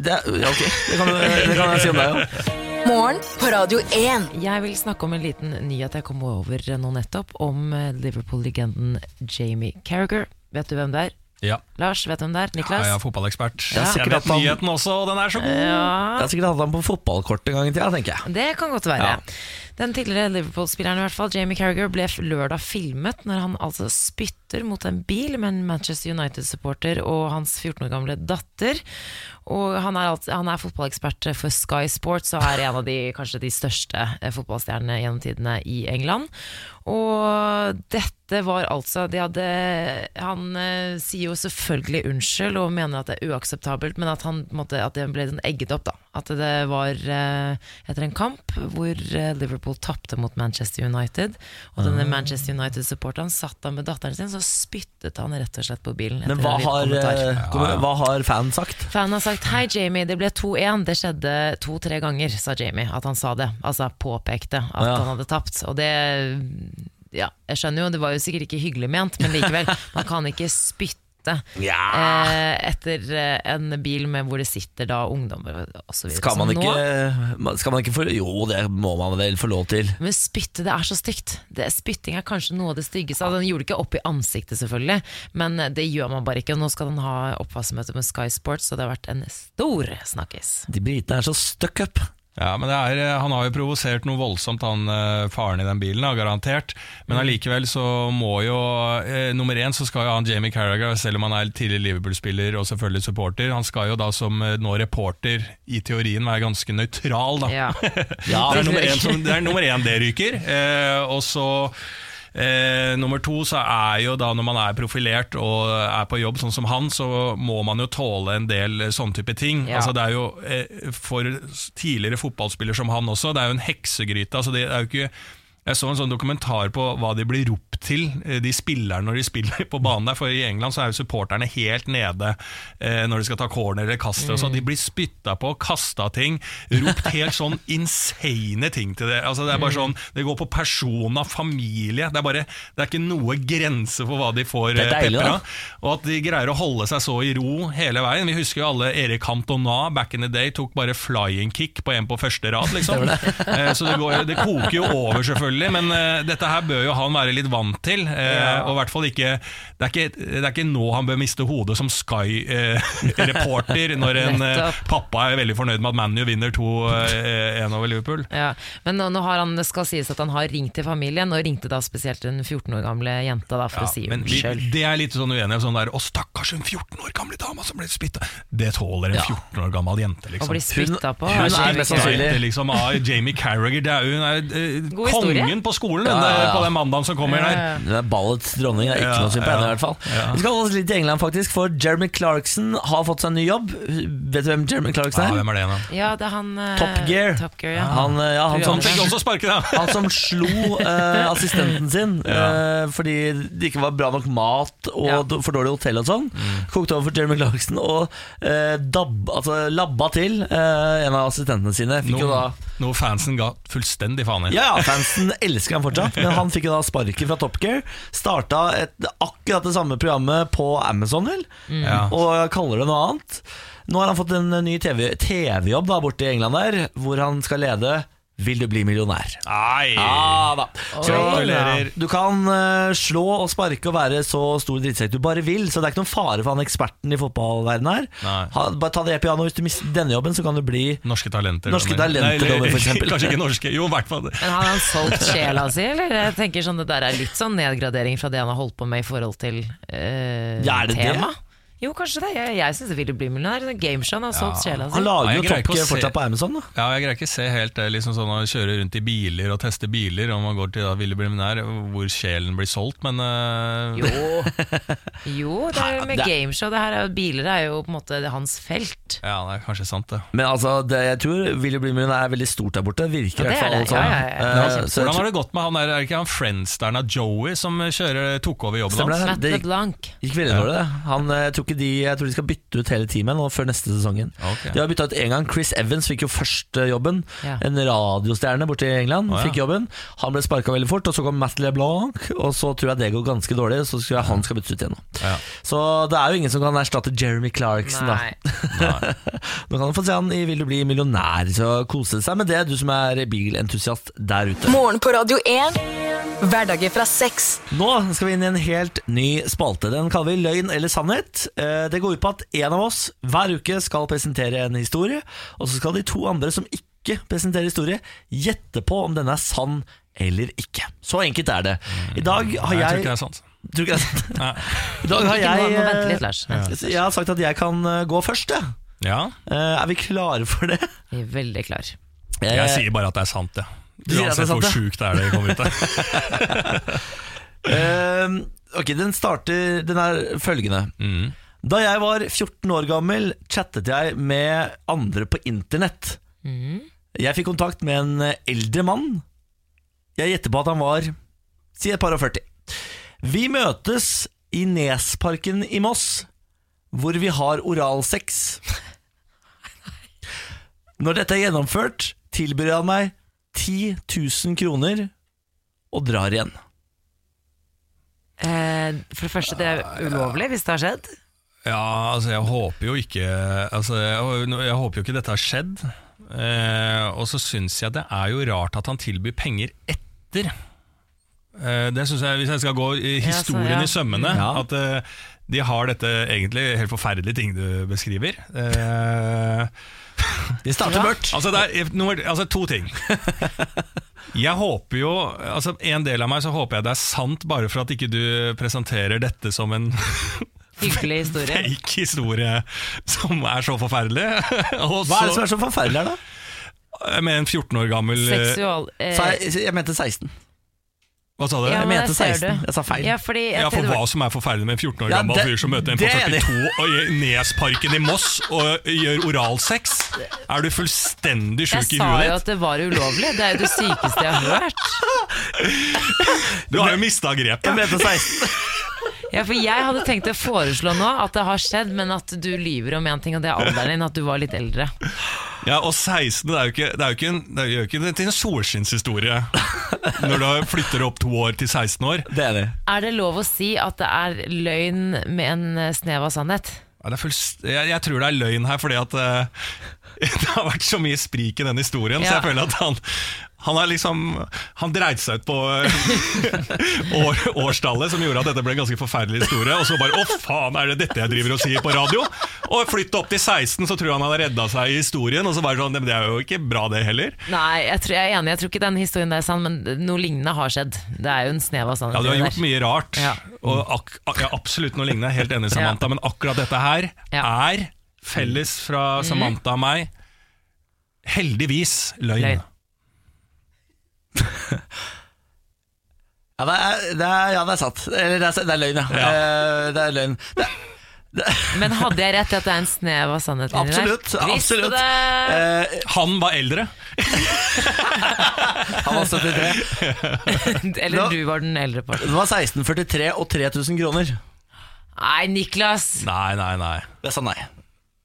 [SPEAKER 1] Det, er- ja, ok, det kan, du- det kan jeg si om deg òg.
[SPEAKER 3] Morgen på Radio 1. Jeg vil snakke om en liten nyhet jeg kom over nå nettopp, om eh, Liverpool-legenden Jamie Carragher. Vet du hvem det er?
[SPEAKER 2] Ja.
[SPEAKER 3] Lars, vet du hvem det er?
[SPEAKER 2] Ja,
[SPEAKER 3] Niklas?
[SPEAKER 2] jeg er fotballekspert.
[SPEAKER 3] Ja.
[SPEAKER 2] Jeg
[SPEAKER 1] Sikkert
[SPEAKER 2] vet
[SPEAKER 1] at han-
[SPEAKER 2] nyheten også, og den er så god!
[SPEAKER 1] Jeg har sikkert hatt ham på fotballkort en gang i tida, tenker jeg.
[SPEAKER 3] Det kan godt være.
[SPEAKER 1] Ja.
[SPEAKER 3] Den tidligere Liverpool-spilleren i hvert fall, Jamie Carragher ble f- lørdag filmet når han altså spytter mot en bil med en Manchester United-supporter og hans 14 år gamle datter. Og han er, alt, han er fotballekspert for Sky Sports og er en av de, kanskje de største eh, fotballstjernene gjennom tidene i England. Og dette var altså de hadde, Han eh, sier jo selvfølgelig unnskyld og mener at det er uakseptabelt, men at, han, på en måte, at det ble sånn egget opp. da At det var eh, etter en kamp hvor eh, Liverpool tapte mot Manchester United. Og denne
[SPEAKER 1] Ah.
[SPEAKER 3] Manchester United-supporteren satt da med datteren sin, så spyttet han rett og slett på bilen.
[SPEAKER 1] Men
[SPEAKER 3] etter
[SPEAKER 1] hva
[SPEAKER 3] en liten
[SPEAKER 1] har,
[SPEAKER 3] kommentar.
[SPEAKER 1] eh, kom- hva har fan sagt?
[SPEAKER 3] Fan har sagt 'Hei, Jamie, det ble 2-1'. Det skjedde to-tre ganger, sa Jamie. At han sa det. Altså påpekte at
[SPEAKER 1] Ja.
[SPEAKER 3] han hadde tapt. Og det Ja, jeg skjønner jo, det var jo sikkert ikke hyggelig ment, men likevel. Man kan ikke spytte.
[SPEAKER 1] Ja.
[SPEAKER 3] eh, Etter eh, en bil med hvor det sitter da ungdommer osv.
[SPEAKER 1] Skal man ikke, skal man ikke få Jo, det må man vel få lov til.
[SPEAKER 3] Men spytte, det er så stygt. Det, spytting er kanskje noe av det styggeste. Altså, den gjorde det ikke opp i ansiktet, selvfølgelig, men det gjør man bare ikke. Og nå skal den ha oppvaskmøte med Sky Sports, og det har vært en stor snakkis.
[SPEAKER 1] De britene er så stuck up.
[SPEAKER 2] Ja, men det er, eh, Han har jo provosert noe voldsomt, han eh, faren i den bilen, da, garantert.
[SPEAKER 3] Mm.
[SPEAKER 2] Men allikevel så må jo eh, Nummer én så skal jo han Jamie Carragher, selv om han er tidligere Liverpool-spiller og selvfølgelig supporter, han skal jo da som eh, nå reporter i teorien være ganske nøytral, da.
[SPEAKER 3] Ja.
[SPEAKER 1] Ja,
[SPEAKER 2] det, er nummer én, som, det er nummer én det ryker. Eh, og så eh, nummer to så er jo da når man er profilert og er på jobb sånn som han, så må man jo tåle en del eh, sånn type ting.
[SPEAKER 3] Ja.
[SPEAKER 2] Altså det er jo eh, For tidligere fotballspiller som han også, det er jo en heksegryte. Altså det er jo ikke jeg så en sånn dokumentar på hva de blir ropt til, eh, de spillerne når de spiller på banen der. For i England så er jo supporterne helt nede eh, når de skal ta corner eller kaste. og sånn.
[SPEAKER 1] Mm.
[SPEAKER 2] De blir spytta på, kasta ting, ropt helt sånn insane ting til det. Altså Det er bare
[SPEAKER 1] Mm.
[SPEAKER 2] sånn, det går på personer, familie. Det er bare, det er ikke noe grense for hva de får
[SPEAKER 1] Det er
[SPEAKER 2] eh,
[SPEAKER 1] deilig, da.
[SPEAKER 2] pepra. Og at de greier å holde seg så i ro hele veien. Vi husker jo alle Erik Cantona back in the day tok bare flying kick på en på første rad, liksom. Eh, så det, går, jo- det koker jo over, selvfølgelig. Men eh, dette her bør jo han være litt vant til. eh, Og i hvert fall ikke det, er ikke det er ikke nå han bør miste hodet som Sky-reporter, når en eh,
[SPEAKER 3] Nettopp.
[SPEAKER 2] pappa er veldig fornøyd med at ManU vinner 2-1 over Liverpool.
[SPEAKER 3] Ja, men nå, nå har han, det skal sies at han har ringt til familien, og ringte da spesielt den 14 år gamle jenta da, for
[SPEAKER 2] Ja,
[SPEAKER 3] å si
[SPEAKER 2] men vi,
[SPEAKER 3] unnskyld.
[SPEAKER 2] det er litt sånn uenighet. Sånn der, 'Å, stakkars, hun 14 år gamle dama som ble spytta'. Det tåler en 14 år gammel jente,
[SPEAKER 3] Og
[SPEAKER 2] liksom.
[SPEAKER 3] bli spytta på.
[SPEAKER 1] hun
[SPEAKER 2] Hun
[SPEAKER 1] er
[SPEAKER 2] er
[SPEAKER 1] mest
[SPEAKER 2] ikke
[SPEAKER 1] sannsynlig-
[SPEAKER 2] helt, liksom, av Jamie Carragher. Det er, jo- hun er eh,
[SPEAKER 3] God historie.
[SPEAKER 2] kongen på skolen
[SPEAKER 1] Ja, ja, ja.
[SPEAKER 2] eh, på den mandagen som kommer.
[SPEAKER 3] Ja, ja, ja, ja.
[SPEAKER 1] Hun er ballets dronning. Det er ikke
[SPEAKER 2] Ja,
[SPEAKER 1] noe synd på henne,
[SPEAKER 2] ja,
[SPEAKER 1] i hvert fall.
[SPEAKER 2] ja.
[SPEAKER 1] Vi skal holde oss litt i England, faktisk, for Jeremy Clarkson har fått seg en ny jobb. Vet du hvem Jeremy Clarkson
[SPEAKER 2] Ja,
[SPEAKER 1] er?
[SPEAKER 2] hvem er det igjen, da?
[SPEAKER 3] Ja, det er han eh,
[SPEAKER 1] Top Gear.
[SPEAKER 3] Top Gear ja.
[SPEAKER 1] Han, eh, ja, han,
[SPEAKER 2] Han
[SPEAKER 1] som,
[SPEAKER 2] fikk også sparken, da!
[SPEAKER 1] han som slo eh, assistenten sin eh, fordi det ikke var bra nok mat og
[SPEAKER 3] Ja.
[SPEAKER 1] d- for dårlig hotell og sånn. Kokte over for Jeremy Clarkson og eh, dabb, altså, labba til eh, en av assistentene sine. Fikk jo da
[SPEAKER 2] Noe, noe fansen ga fullstendig faen i.
[SPEAKER 1] Ja, ja, fansen elsker han fortsatt, men han fikk jo da sparken fra Top Gear. Starta et, akkurat det samme programmet på Amazon, vel,
[SPEAKER 2] Ja.
[SPEAKER 1] og kaller det noe annet. Nå har han fått en ny TV TV-jobb da, borte i England der, hvor han skal lede 'Vil du bli millionær'.
[SPEAKER 2] Nei!
[SPEAKER 1] Ja da. Så
[SPEAKER 2] Eh. Gratulerer.
[SPEAKER 1] du kan eh, slå og sparke og være så stor drittsekk du bare vil, så det er ikke noen fare for han eksperten i fotballverdenen her.
[SPEAKER 2] Nei.
[SPEAKER 1] Ha, bare ta det pianoet. Hvis du mister denne jobben, så kan du bli
[SPEAKER 2] Norske talenter.
[SPEAKER 1] Norske
[SPEAKER 2] Donny.
[SPEAKER 1] talenter,
[SPEAKER 2] Nei,
[SPEAKER 1] Donny, for eksempel.
[SPEAKER 2] Kanskje ikke norske, jo, i hvert fall.
[SPEAKER 3] Men har han solgt sjela si, eller? Jeg tenker sånn, Det der er litt sånn nedgradering fra det han har holdt på med i forhold til eh,
[SPEAKER 1] Ja, er det det?
[SPEAKER 3] tema. Jo, kanskje det. Jeg, jeg syns det ville bli millionær. Gameshow har solgt sjela si.
[SPEAKER 1] Han lager
[SPEAKER 2] Nei,
[SPEAKER 1] jo
[SPEAKER 2] jeg
[SPEAKER 1] Top
[SPEAKER 2] greier ikke å
[SPEAKER 1] Gear
[SPEAKER 2] se-
[SPEAKER 1] fortsatt på Amazon, da.
[SPEAKER 2] Ja, jeg greier ikke se helt det liksom sånn å kjøre rundt i biler og teste biler, om man går til da Ville bli millionær, hvor sjelen blir solgt, men eh,
[SPEAKER 3] Jo. jo, det er jo med
[SPEAKER 1] det er-
[SPEAKER 3] gameshow. Det her er, jo- biler er jo på en måte hans felt.
[SPEAKER 2] Ja, det er kanskje sant, det.
[SPEAKER 1] Men altså, det, jeg tror Will You Bli Millionaire er veldig stort der borte. Virker i
[SPEAKER 3] Ja, det
[SPEAKER 1] hvert
[SPEAKER 3] er
[SPEAKER 1] fall
[SPEAKER 3] det.
[SPEAKER 1] sånn.
[SPEAKER 3] Ja, ja, ja.
[SPEAKER 1] Eh,
[SPEAKER 3] Det er
[SPEAKER 1] så jeg
[SPEAKER 2] Hvordan
[SPEAKER 1] tror-
[SPEAKER 2] har det gått med han der, er det ikke han friendsteren av Joey som eh, kjører, tok over jobben
[SPEAKER 1] Stemmer
[SPEAKER 2] hans?
[SPEAKER 1] det?
[SPEAKER 3] Matt
[SPEAKER 1] Det gikk,
[SPEAKER 3] LeBlanc.
[SPEAKER 1] gikk veldig dårlig, det. Han, eh, jeg, tror ikke de, jeg tror de skal bytte ut hele teamet nå før neste sesongen.
[SPEAKER 2] Ok.
[SPEAKER 1] De har bytta ut én gang. Chris Evans fikk jo første jobben.
[SPEAKER 3] Ja.
[SPEAKER 1] En radiostjerne borte i England
[SPEAKER 2] Å, ja.
[SPEAKER 1] fikk jobben. Han ble sparka veldig fort, og så kom Matt LeBlanc, og så tror jeg det går ganske dårlig, så tror jeg han skal byttes ut igjen nå.
[SPEAKER 2] Ja.
[SPEAKER 1] Så det er jo ingen som kan erstatte Jeremy Clarkson, da.
[SPEAKER 3] Nei.
[SPEAKER 2] Nei.
[SPEAKER 1] Nå kan du få se han i Vil du bli millionær, så kose seg med det, du som er bilentusiast der ute.
[SPEAKER 4] Morgen på Radio 1. Hverdager fra seks.
[SPEAKER 1] Nå skal vi inn i en helt ny spalte. Den kaller vi Løgn eller sannhet. Eh, Det går ut på at en av oss hver uke skal presentere en historie, og så skal de to andre som ikke presenterer historie, gjette på om denne er sann eller ikke. Så enkelt er det. I dag
[SPEAKER 2] Mm. Nei,
[SPEAKER 1] har
[SPEAKER 2] jeg tror
[SPEAKER 1] jeg
[SPEAKER 2] ikke det er sant.
[SPEAKER 1] Tror ikke det er sant?
[SPEAKER 2] Nei.
[SPEAKER 1] I dag har
[SPEAKER 3] Ikke nå,
[SPEAKER 1] jeg
[SPEAKER 3] må vente litt,
[SPEAKER 1] eh,
[SPEAKER 3] Lars. Vent litt.
[SPEAKER 1] Jeg har sagt at jeg kan eh, gå først, jeg.
[SPEAKER 2] Ja,
[SPEAKER 1] Eh, Er vi klare for det?
[SPEAKER 3] Jeg er veldig klar.
[SPEAKER 1] Eh,
[SPEAKER 2] jeg sier bare at det er sant, jeg.
[SPEAKER 1] Du sier at det er
[SPEAKER 2] Uansett
[SPEAKER 1] sant,
[SPEAKER 2] hvor
[SPEAKER 1] ja.
[SPEAKER 2] sjukt det er det kom ut av.
[SPEAKER 1] eh, Ok, den starter Den er følgende.
[SPEAKER 2] Mm.
[SPEAKER 1] Da jeg var 14 år gammel, chattet jeg med andre på internett. Jeg fikk kontakt med en eh, eldre mann. Jeg gjetter på at han var si et par og 40. Vi møtes i Nesparken i Moss, hvor vi har oralsex. Når dette er gjennomført, tilbyr han meg 10 000 kroner og drar igjen.
[SPEAKER 3] Eh, for det første, det er
[SPEAKER 1] Ah,
[SPEAKER 3] ulovlig hvis det har skjedd.
[SPEAKER 2] Ja, altså jeg håper jo ikke altså jeg, jeg håper jo ikke dette har skjedd. Eh, og så syns jeg det er jo rart at han tilbyr penger etter. Eh, det synes jeg, Hvis jeg skal gå i historien
[SPEAKER 3] Ja, så ja.
[SPEAKER 2] i sømmene
[SPEAKER 1] Ja.
[SPEAKER 2] At eh, de har dette egentlig helt forferdelige ting du beskriver. Eh,
[SPEAKER 1] Vi starter mørkt.
[SPEAKER 2] Altså, det er, nummer, altså to ting. Jeg håper jo altså En del av meg så håper jeg det er sant, bare for at ikke du presenterer dette som en
[SPEAKER 3] Hyggelig historie.
[SPEAKER 2] fake historie som er så forferdelig. Og
[SPEAKER 1] Hva er det
[SPEAKER 2] så
[SPEAKER 1] som er så forferdelig her, da?
[SPEAKER 2] med en 14 år gammel eh,
[SPEAKER 3] Seksual... eh,
[SPEAKER 1] Sa jeg, jeg mente 16.
[SPEAKER 2] Hva sa du?
[SPEAKER 3] ja,
[SPEAKER 2] Ja,
[SPEAKER 1] jeg
[SPEAKER 3] men
[SPEAKER 1] mente
[SPEAKER 3] der ser
[SPEAKER 1] 16.
[SPEAKER 3] du.
[SPEAKER 1] Jeg sa feil.
[SPEAKER 3] Ja, fordi jeg
[SPEAKER 2] for
[SPEAKER 3] tenkte-
[SPEAKER 2] hva som er forferdelig med en 14 år
[SPEAKER 1] Ja,
[SPEAKER 2] gammel
[SPEAKER 1] det-
[SPEAKER 2] fyr som møter en på
[SPEAKER 1] det er jeg enig i.
[SPEAKER 2] 42 og i Nesparken i Moss og gjør oralsex? Er du fullstendig sjuk
[SPEAKER 3] Jeg
[SPEAKER 2] i
[SPEAKER 3] sa
[SPEAKER 2] huet
[SPEAKER 3] jo
[SPEAKER 2] ditt?
[SPEAKER 3] at det var ulovlig. Det er jo det sykeste jeg har hørt.
[SPEAKER 2] Du har jo mista
[SPEAKER 1] Jeg
[SPEAKER 2] grepet.
[SPEAKER 1] mente 16.
[SPEAKER 3] Ja, for Jeg hadde tenkt å foreslå nå at det har skjedd, men at du lyver om én ting, og det er alderen din, at du var litt eldre.
[SPEAKER 2] Ja, og 16 det er jo ikke, det er jo ikke, en, det gjør jo ikke det til en solskinnshistorie når du flytter opp to år til 16 år.
[SPEAKER 1] Det er det.
[SPEAKER 3] Er det lov å si at det er løgn med en eh, snev av sannhet?
[SPEAKER 2] Ja, det er fullst- jeg, jeg tror det er løgn her, fordi at eh, det har vært så mye sprik i den historien, så
[SPEAKER 3] Ja.
[SPEAKER 2] jeg føler at han, han har liksom Han dreide seg ut på eh, år, årstallet, som gjorde at dette ble en ganske forferdelig historie. Og så bare 'Å, faen, er det dette jeg driver og sier på radio?' Og flytte opp til 16, så tror jeg han hadde redda seg i historien. Og så bare sånn «Nei, men Det er jo ikke bra, det heller.
[SPEAKER 3] Nei, jeg, tror, jeg er enig, jeg tror ikke den historien der er sann, men noe lignende har skjedd. Det er jo en snev av sannhet.
[SPEAKER 2] Ja, du har
[SPEAKER 3] i det
[SPEAKER 2] gjort
[SPEAKER 3] der.
[SPEAKER 2] mye rart,
[SPEAKER 3] Ja.
[SPEAKER 2] og ak ak ja, absolutt noe lignende. Helt enig, Samantha. Men akkurat dette her
[SPEAKER 3] Ja. Mhm.
[SPEAKER 2] er felles fra Samantha og meg. Heldigvis løgn.
[SPEAKER 3] Løgn.
[SPEAKER 1] Ja, det er, det er, ja, det er sant. Eller det er, det er løgn, ja. Eh, Det er løgn. Det,
[SPEAKER 3] Men hadde jeg rett i at det er en snev av sannhet inni der?
[SPEAKER 1] absolutt.
[SPEAKER 3] Visste
[SPEAKER 1] absolutt.
[SPEAKER 3] det!
[SPEAKER 1] Eh,
[SPEAKER 2] Han var eldre.
[SPEAKER 1] han var 73. Eh,
[SPEAKER 3] Eller du var den eldre parten.
[SPEAKER 1] Det var 1643 og 3000 kroner.
[SPEAKER 3] Nei, Niklas!
[SPEAKER 2] Nei, nei, nei.
[SPEAKER 1] Jeg sa nei.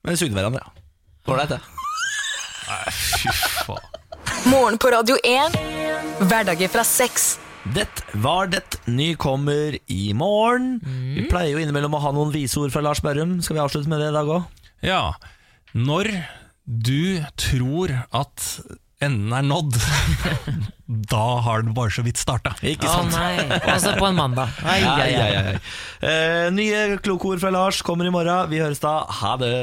[SPEAKER 1] Men vi sugde hverandre, ja. Ålreit, det.
[SPEAKER 2] nei fy faen.
[SPEAKER 4] Morgen på Radio 1. Hverdager fra seks.
[SPEAKER 1] Det var det. Ny kommer i morgen. Vi pleier jo innimellom å ha noen viseord fra Lars Berrum. Skal vi avslutte med det i dag òg?
[SPEAKER 2] Ja. Når du tror at enden er nådd, da har den bare så vidt starta.
[SPEAKER 1] Ikke
[SPEAKER 3] Å
[SPEAKER 1] sant?
[SPEAKER 3] nei. Altså på en mandag. Ai,
[SPEAKER 1] Ja,
[SPEAKER 3] ai,
[SPEAKER 1] ja,
[SPEAKER 3] ai.
[SPEAKER 1] ja, ja. Eh, nye kloke ord fra Lars kommer i morgen. Vi høres da. Ha det.